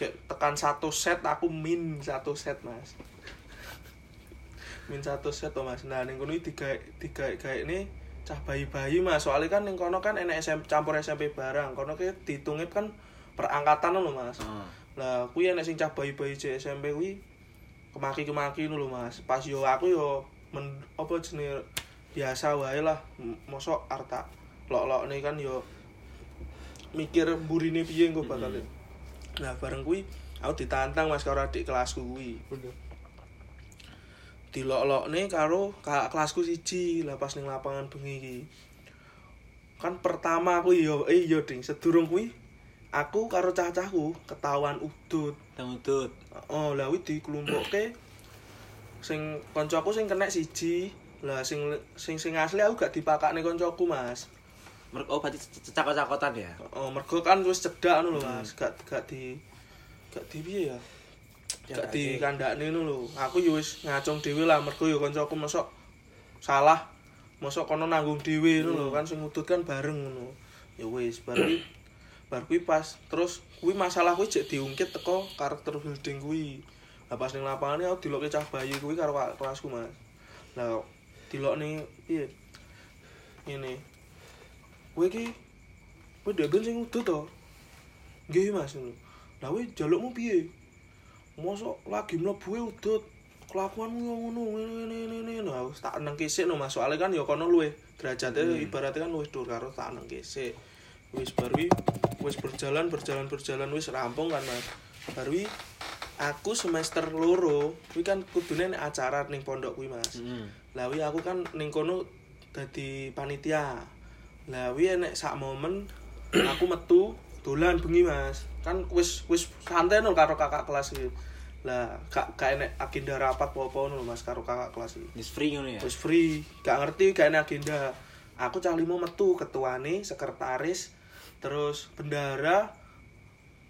Speaker 3: gek tekan satu set aku min satu set, Mas. min satu set to Mas. Nah, ning kono iki digawe digawe gawe ini cah bayi-bayi mas soalnya kan yang kono kan enak SMP, campur SMP barang kono kayak dihitungnya kan perangkatan lho mas
Speaker 1: Heeh.
Speaker 3: lah aku ya sing cah bayi-bayi di SMP kuwi kemaki-kemaki lho Mas. Pas yo aku yo men, apa jenenge biasa wae lah. M- Mosok arta lok-lokne kan yo mikir mburine piye engko bakal. Lah bareng kuwi aku ditantang Mas karo adik kelasku kuwi. Dilok-lokne karo kakak kelasku siji lah pas ning lapangan bengi iki. Kan pertama aku yo eh yo ding sedurung kuwi aku karo cah-cahku ketahuan udut.
Speaker 1: Tang udut.
Speaker 3: Oh, lah kuwi dikelompokke sing koncoku sing kena siji. Lah sing sing sing asli aku gak dipakakne koncoku, Mas.
Speaker 1: Mereka oh berarti cakot-cakotan ya.
Speaker 3: Oh, mergo kan wis cedak ngono lho, Mas. Gak gak di gak di piye ya? Gak dikandakne ngono lho. Aku ya wis ngacung dhewe lah mergo ya koncoku mosok salah. Mosok kono nanggung dhewe ngono lho, kan sing udut kan bareng ngono. Ya wis, bar kuwi bar kuwi pas terus kuwi masalah kuwi jek diungkit teko karakter building kuwi. Lah pas ning lapangane aku dilokke cah bayi kuwi karo kakak kelasku, Mas. Lah dilokne piye? Ngene. Kowe iki kowe dagen sing udut to. Nggih, Mas. ngono. Lah kowe jalukmu piye? Mosok lagi mlebu e udut. Kelakuanmu yo ngono, ngene ngene ngene. ngene. Nah, aku tak neng kesik no Mas. Soale kan yo kono luwe derajate ibaratnya kan luwih dur karo tak neng kesik. Wis baru i- wis berjalan berjalan berjalan wis rampung kan Mas. Baru i, aku semester loro kuwi kan kudune nek acara ning pondok kuwi Mas. Lah wi aku kan ning kono dadi panitia. Lah wi enek sak momen aku metu dolan bengi Mas. Kan wis wis santai no karo kakak kelas iki. Lah gak gak enek agenda rapat apa-apa no Mas karo kakak kelas iki.
Speaker 1: Wis free ngono ya.
Speaker 3: Wis free, gak ngerti gak enek agenda. Aku cah limo metu ketuane, sekretaris, terus bendara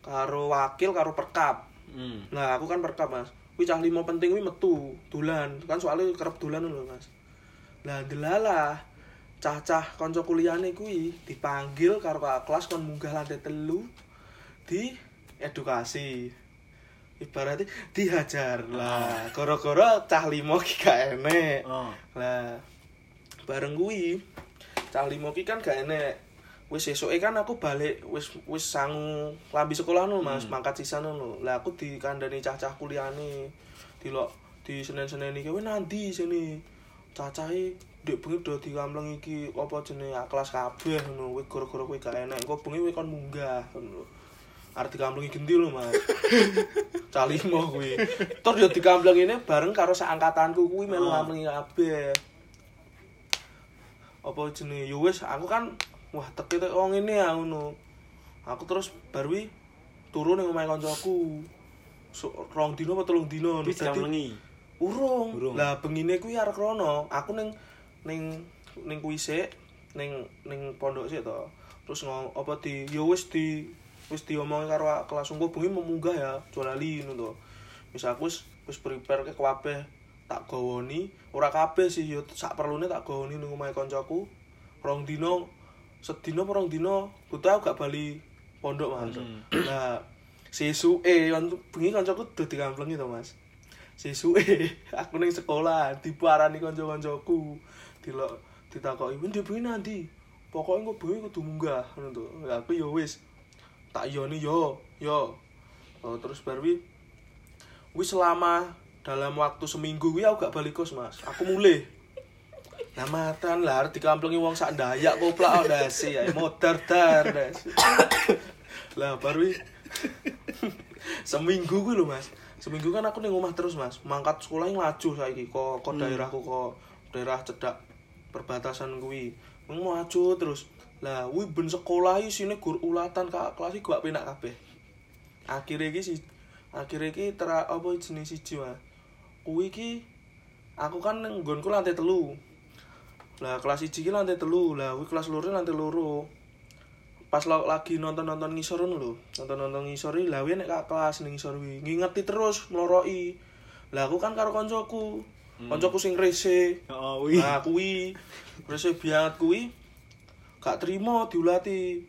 Speaker 3: karo wakil karo perkap.
Speaker 1: Hmm.
Speaker 3: Nah, aku kan perkap, Mas. Kuwi cah limo penting kuwi metu, dolan. Kan soalnya kerep dolan lho, Mas. Lah, delalah cah-cah kanca kuliahane kuwi dipanggil karo kakak kelas kon munggah lantai telu di edukasi. Ibaratnya dihajar lah. Goro-goro cah limo ki gak enek.
Speaker 1: Oh.
Speaker 3: Lah bareng kuwi cah limo ki kan gak enek. Wis esoke kan aku balik wis wis sangu lambi sekolah no Mas, mangkat sisan no. Lah aku dikandani cah-cah kuliahane. Dilok di Senin-Senin iki kowe nanti sini. Cacahe ndek bengi do dikamleng iki apa jenenge ah, kelas kabeh ngono. Kowe gara-gara kowe gak enek, engko bengi kowe kon munggah ngono. Arep dikamlengi genti lho Mas. Cah limo kuwi. Terus yo dikampleng ini bareng karo seangkatanku kuwi melu ngamlengi kabeh. Apa jenenge? Yo wis aku kan wah teke tek wong ini ya ngono. Aku terus baru wi turu ning omahe kancaku. So, rong dino apa telung dino
Speaker 1: Wis
Speaker 3: Dadi-
Speaker 1: dikamlengi. Urung.
Speaker 3: Urung. Lah bengine kuwi arek rono. Aku ning ning ning kuwi sik, ning ning pondok sik to. Terus ngomong apa di ya wis di wis diomongin karo a- kelas engko bengi memunggah ya, jolali ngono to. Wis aku wis wis prepare ke kabeh tak gawoni, ora kabeh sih ya sak perlune tak gawoni ning omahe kancaku. Rong dino sedina apa rong dino buta aku gak bali pondok Mas. Nah, sesuke kon bengi kancaku do digamplengi to Mas. sesuke aku ning sekolah diparani kanca-kancaku dilok ditakoki "Wih, ndek bengi nanti pokoke engko bengi kudu munggah ngono to Ya, aku ya wis tak yoni yo yo oh, terus bar wi wi selama dalam waktu seminggu wi aku gak balik kos Mas aku mulai Nah matan lah arep dikamplengi wong sak ndayak koplak ndase ya modar dar ndase. Lah baru wi- seminggu gue lho mas seminggu kan aku ning rumah terus mas mangkat sekolah yang laju saiki kok kok daerahku kok daerah cedak perbatasan kuwi mau laju terus lah wi ben sekolah iki sini gur ulatan kak kelas iki gak penak kabeh akhirnya iki si akhirnya iki tera apa jenis siji mas kuwi iki aku kan ning nggonku lantai telu lah kelas 1 iki lantai telu lah kuwi kelas loro lantai loro pas lo, lagi nonton-nonton ngisor ngono lho. Nonton-nonton ngisor iki lawe nek kak kelas ning ngisor kuwi. Ngingeti terus mloroi. Lah aku kan karo koncoku. Koncoku sing rese.
Speaker 1: Oh, wih.
Speaker 3: Nah kuwi rese banget kuwi. Gak trimo diulati.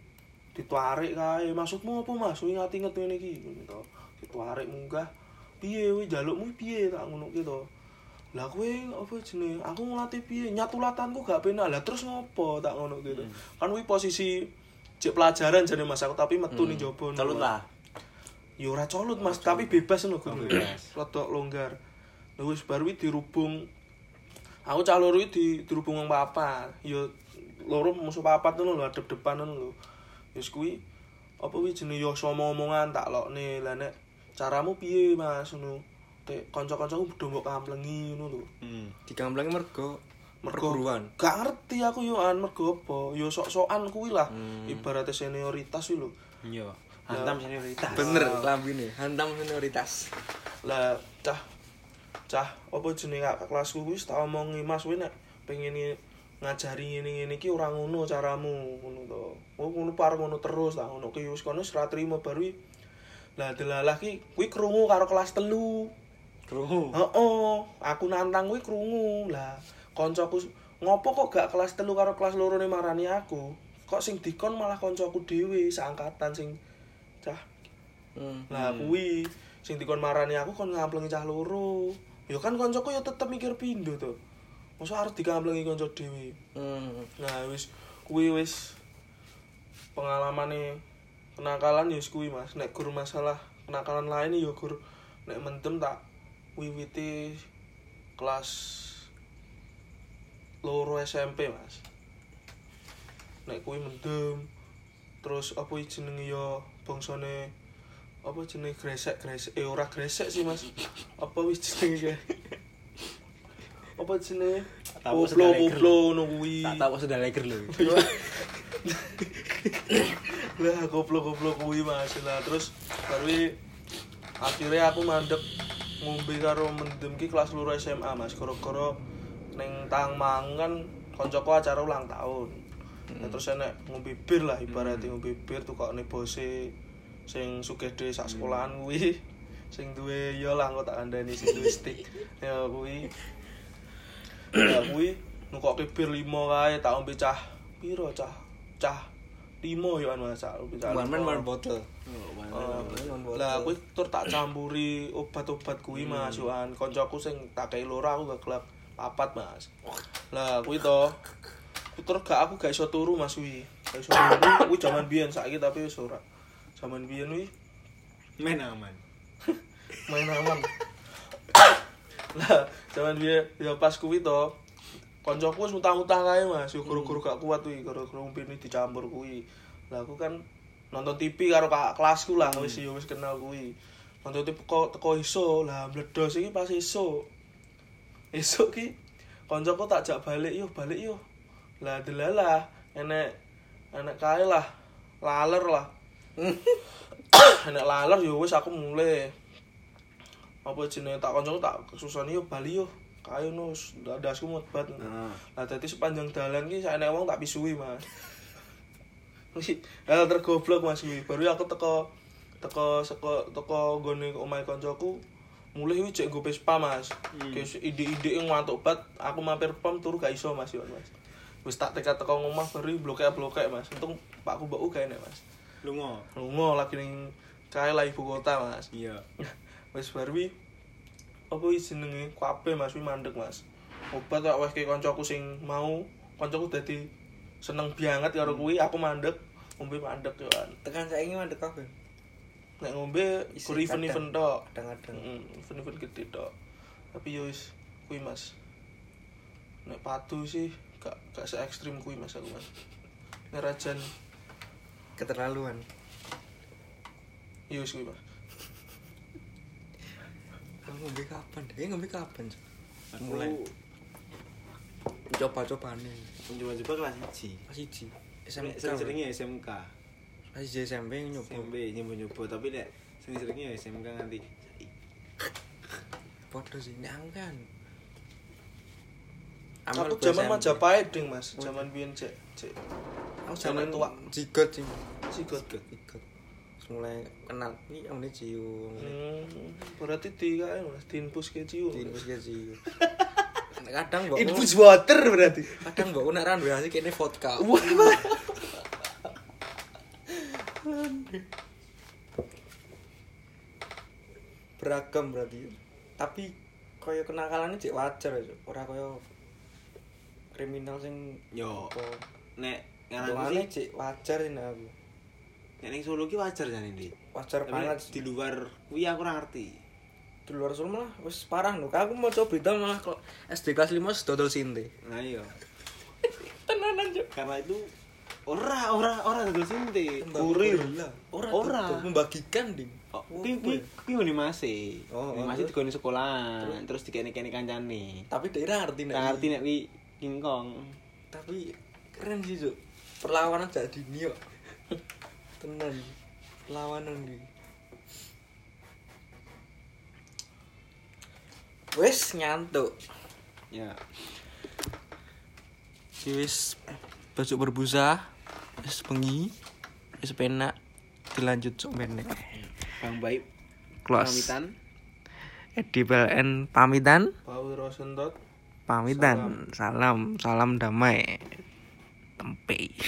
Speaker 3: Ditarik kae. Maksudmu apa Mas? Kuwi ngati-nget ngene iki. Ngono to. Ditarik munggah. Piye kuwi jalukmu piye tak ngono ki to. lah kowe apa jenenge aku ngelatih piye nyatu latanku gak penak lah terus ngopo tak ngono gitu kan kuwi posisi cek pelajaran jadi mas aku tapi metu nih jopo ngono.
Speaker 1: Celut lah.
Speaker 3: ya ora colut mas tapi bebas ngono guru rodok longgar lha wis baru kuwi dirubung aku cah loro kuwi di dirubung wong papat ya loro musuh papat ngono lho adep depan ngono lho wis kuwi apa kuwi jenenge ya omong-omongan tak lokne lah nek caramu piye mas ngono Tek kanca-kancaku bodho mbok kamplengi ngono lho
Speaker 1: Mm.
Speaker 4: Digamblang mergo
Speaker 3: mergo
Speaker 4: perguruan.
Speaker 3: gak ngerti aku yo an mergo apa yo sok-sokan kuwi lah ibaratnya senioritas kuwi lho
Speaker 1: Iya. Hantam senioritas.
Speaker 4: Ah. Bener lambine, hantam senioritas.
Speaker 3: lah cah cah apa jenenge kakak kelasku kuwi wis tak omongi Mas kuwi nek pengen nge- ngajari ngene ngene iki ora ngono caramu ngono to. Oh ngono par ngono terus tak ngono ki wis kono wis ra trimo baru i- lah delalah ki kuwi krungu karo kelas telu
Speaker 1: Krungu.
Speaker 3: Heeh, aku nantang kuwi krungu. Lah, koncoku s- ngopo kok gak kelas telu karo kelas loro ne marani aku? Kok sing dikon malah koncoku dhewe seangkatan sing cah.
Speaker 4: Hmm.
Speaker 3: Lah kuwi sing dikon marani aku kon ngamplengi cah loro. Ya kan koncoku ya tetep mikir pindho to. Masa arep dikamplengi konco dhewe.
Speaker 4: Hmm.
Speaker 3: Nah, wis kuwi wis pengalamane kenakalan ya wis kuwi Mas. Nek gur masalah kenakalan lain ya gur nek mendem tak wiwiti kelas loro SMP, Mas. Nek kuwi mendem terus apa iki jenenge ya bangsane apa jenenge gresek-gresek eh ora gresek sih, Mas. Apa wis jenenge apa jenenge?
Speaker 1: Tahu
Speaker 3: Koplo
Speaker 1: sedaleger.
Speaker 3: koplo ngono kuwi.
Speaker 1: Tak tahu sudah leger lho.
Speaker 3: lah goblok-goblok kuwi mas lah terus baru i- akhirnya aku mandek ngombe karo mendem ki kelas loro SMA mas koro-koro neng tang mangan koncoku acara ulang tahun
Speaker 4: Hmm.
Speaker 3: Nah, terus enek ngombe bir lah ibaratnya ngombe bir tukokne bose sing
Speaker 4: Hmm.
Speaker 3: sugede sak sekolahan kuwi sing duwe ya lah engko tak kandhani sing duwe stick ya kuwi ya kuwi nukokke bir limo kae tak ombe cah piro cah cah limo yo anu cah ombe cah
Speaker 4: One man one
Speaker 3: limo.
Speaker 4: bottle.
Speaker 3: Oh,
Speaker 4: One bottle.
Speaker 3: lah aku tur tak campuri obat-obat kuwi Mas Yohan. Koncoku sing tak kei loro aku gak gelap papat Mas. Lah kuwi to. Aku tur gak aku gak iso turu Mas kuwi. Gak iso turu kuwi jaman biyen saiki tapi wis ora. Jaman biyen kuwi
Speaker 2: Men aman.
Speaker 3: main aman. lah jaman biyen ya pas kuwi to. Koncoku wis utang-utang kae Mas. Yo guru-guru gak kuat kuwi guru-guru ini dicampur kuwi. Lah aku kan nonton TV karo kakak kelasku lah wis yo wis kenal kuwi. Nonton TV kok teko iso lah meledos iki pas iso. Esuk ki koncoku tak jak balik yo balik yo. Lah delalah enek enek kae lah laler lah. enek laler yo wis aku mulai apa jenenge tak koncoku tak kesusahan yo bali yo. Kae no s- ndasku mumet banget. Nah, dadi sepanjang dalan ki sak enek wong tak pisui, Mas. Wih, hal tergoblok Mas kuwi. Baru aku teko teko seko teko nggone omahe koncoku mulih wis cek nggo Vespa Mas. Guys, ide-ide yang ngantuk banget, aku mampir pom turu gak iso Mas yo Mas. Wis tak teka teko omah baru blokek-blokek Mas. Untung pakku mbakku gak enek Mas.
Speaker 2: Lungo.
Speaker 3: Lungo lagi ning kae lah ibu kota Mas.
Speaker 2: Iya.
Speaker 3: wis barwi apa wis jenenge kuape Mas wi mandek Mas. Obat tak wehke kancaku sing mau, kancaku dadi seneng banget karo kuwi, aku mandek, ngombe mandek yo kan.
Speaker 4: Tekan saiki mandek kabeh.
Speaker 3: Nek ngombe
Speaker 4: Isi
Speaker 3: kur event-event tok.
Speaker 4: Kadang-kadang.
Speaker 3: Mm, event-event gede tok. Tapi yo wis kuwi Mas. Nek patu sih gak gak se ekstrim kuwi Mas aku Mas. Nek rajan
Speaker 4: Keterlaluan.
Speaker 3: yo wis kuwi Mas.
Speaker 4: Aku ngombe kapan? Eh ngombe kapan? Cok?
Speaker 2: Aku
Speaker 4: Mulai. Coba-coba nih.
Speaker 2: mencoba-coba kelas siji.
Speaker 4: Pas siji.
Speaker 2: Nek
Speaker 4: SMK.
Speaker 2: sering-seringnya
Speaker 1: ya
Speaker 2: SMK.
Speaker 4: Pas siji SMP nyoba.
Speaker 2: SMP nyoba-nyoba tapi nek sering-seringnya ya SMK nganti saiki.
Speaker 4: Podo sih nek aku kan. Amal
Speaker 3: Aku
Speaker 4: gua
Speaker 3: zaman
Speaker 4: SMP.
Speaker 3: Majapahit ding Mas, zaman biyen cek cek
Speaker 4: Aku zaman
Speaker 3: zaman tua.
Speaker 4: tua. Jigot sih.
Speaker 3: sigot.
Speaker 4: Jigot. Terus mulai kenal ini yang ini cium.
Speaker 3: Hmm, berarti tiga ya mas, tinpus kecil.
Speaker 4: Tinus ya cium. Kadang mbok
Speaker 3: water berarti.
Speaker 4: kadang mbok nak randu asik kene vodka. Beragam berarti. Tapi kaya kenakalannya cek wajar aja ora kaya kriminal sing
Speaker 1: Yo.
Speaker 4: apa
Speaker 1: Nek ngaranku
Speaker 4: Hitungannya
Speaker 1: sih
Speaker 4: cek wajar ini aku
Speaker 1: nek ning Solo ki wajar jane ndi.
Speaker 4: wajar
Speaker 1: Tapi
Speaker 4: banget
Speaker 1: nek di luar kuwi aku ora ngerti.
Speaker 4: di luar Solo malah wis parah lho aku mau coba berita malah kok SD kelas 5 sedodol sinte
Speaker 1: Nah iya.
Speaker 4: tenanan cuk
Speaker 1: Karena itu ora ora ora dadi sinte.
Speaker 4: kurir ora
Speaker 1: Ora.
Speaker 4: ora membagikan ding
Speaker 1: Oh, Kuwi kuwi kuwi ngene mase.
Speaker 4: Oh,
Speaker 1: Ngene
Speaker 4: oh,
Speaker 1: mase
Speaker 4: terus?
Speaker 1: digone sekolah, E terus dikene-kene kancane.
Speaker 4: tapi daerah ngerti nek
Speaker 1: Ora ngerti nek kuwi kingkong.
Speaker 4: tapi keren sih cuk perlawanan jadi dini kok tenan perlawanan di wes nyantuk
Speaker 1: Ya.
Speaker 4: si wes baju berbusa wes bengi wes penak dilanjut cuk menek
Speaker 1: Bang Baik
Speaker 4: kelas
Speaker 1: pamitan.
Speaker 4: Edi PLN pamitan
Speaker 3: Paul Rosenthal
Speaker 4: pamitan salam salam damai tempe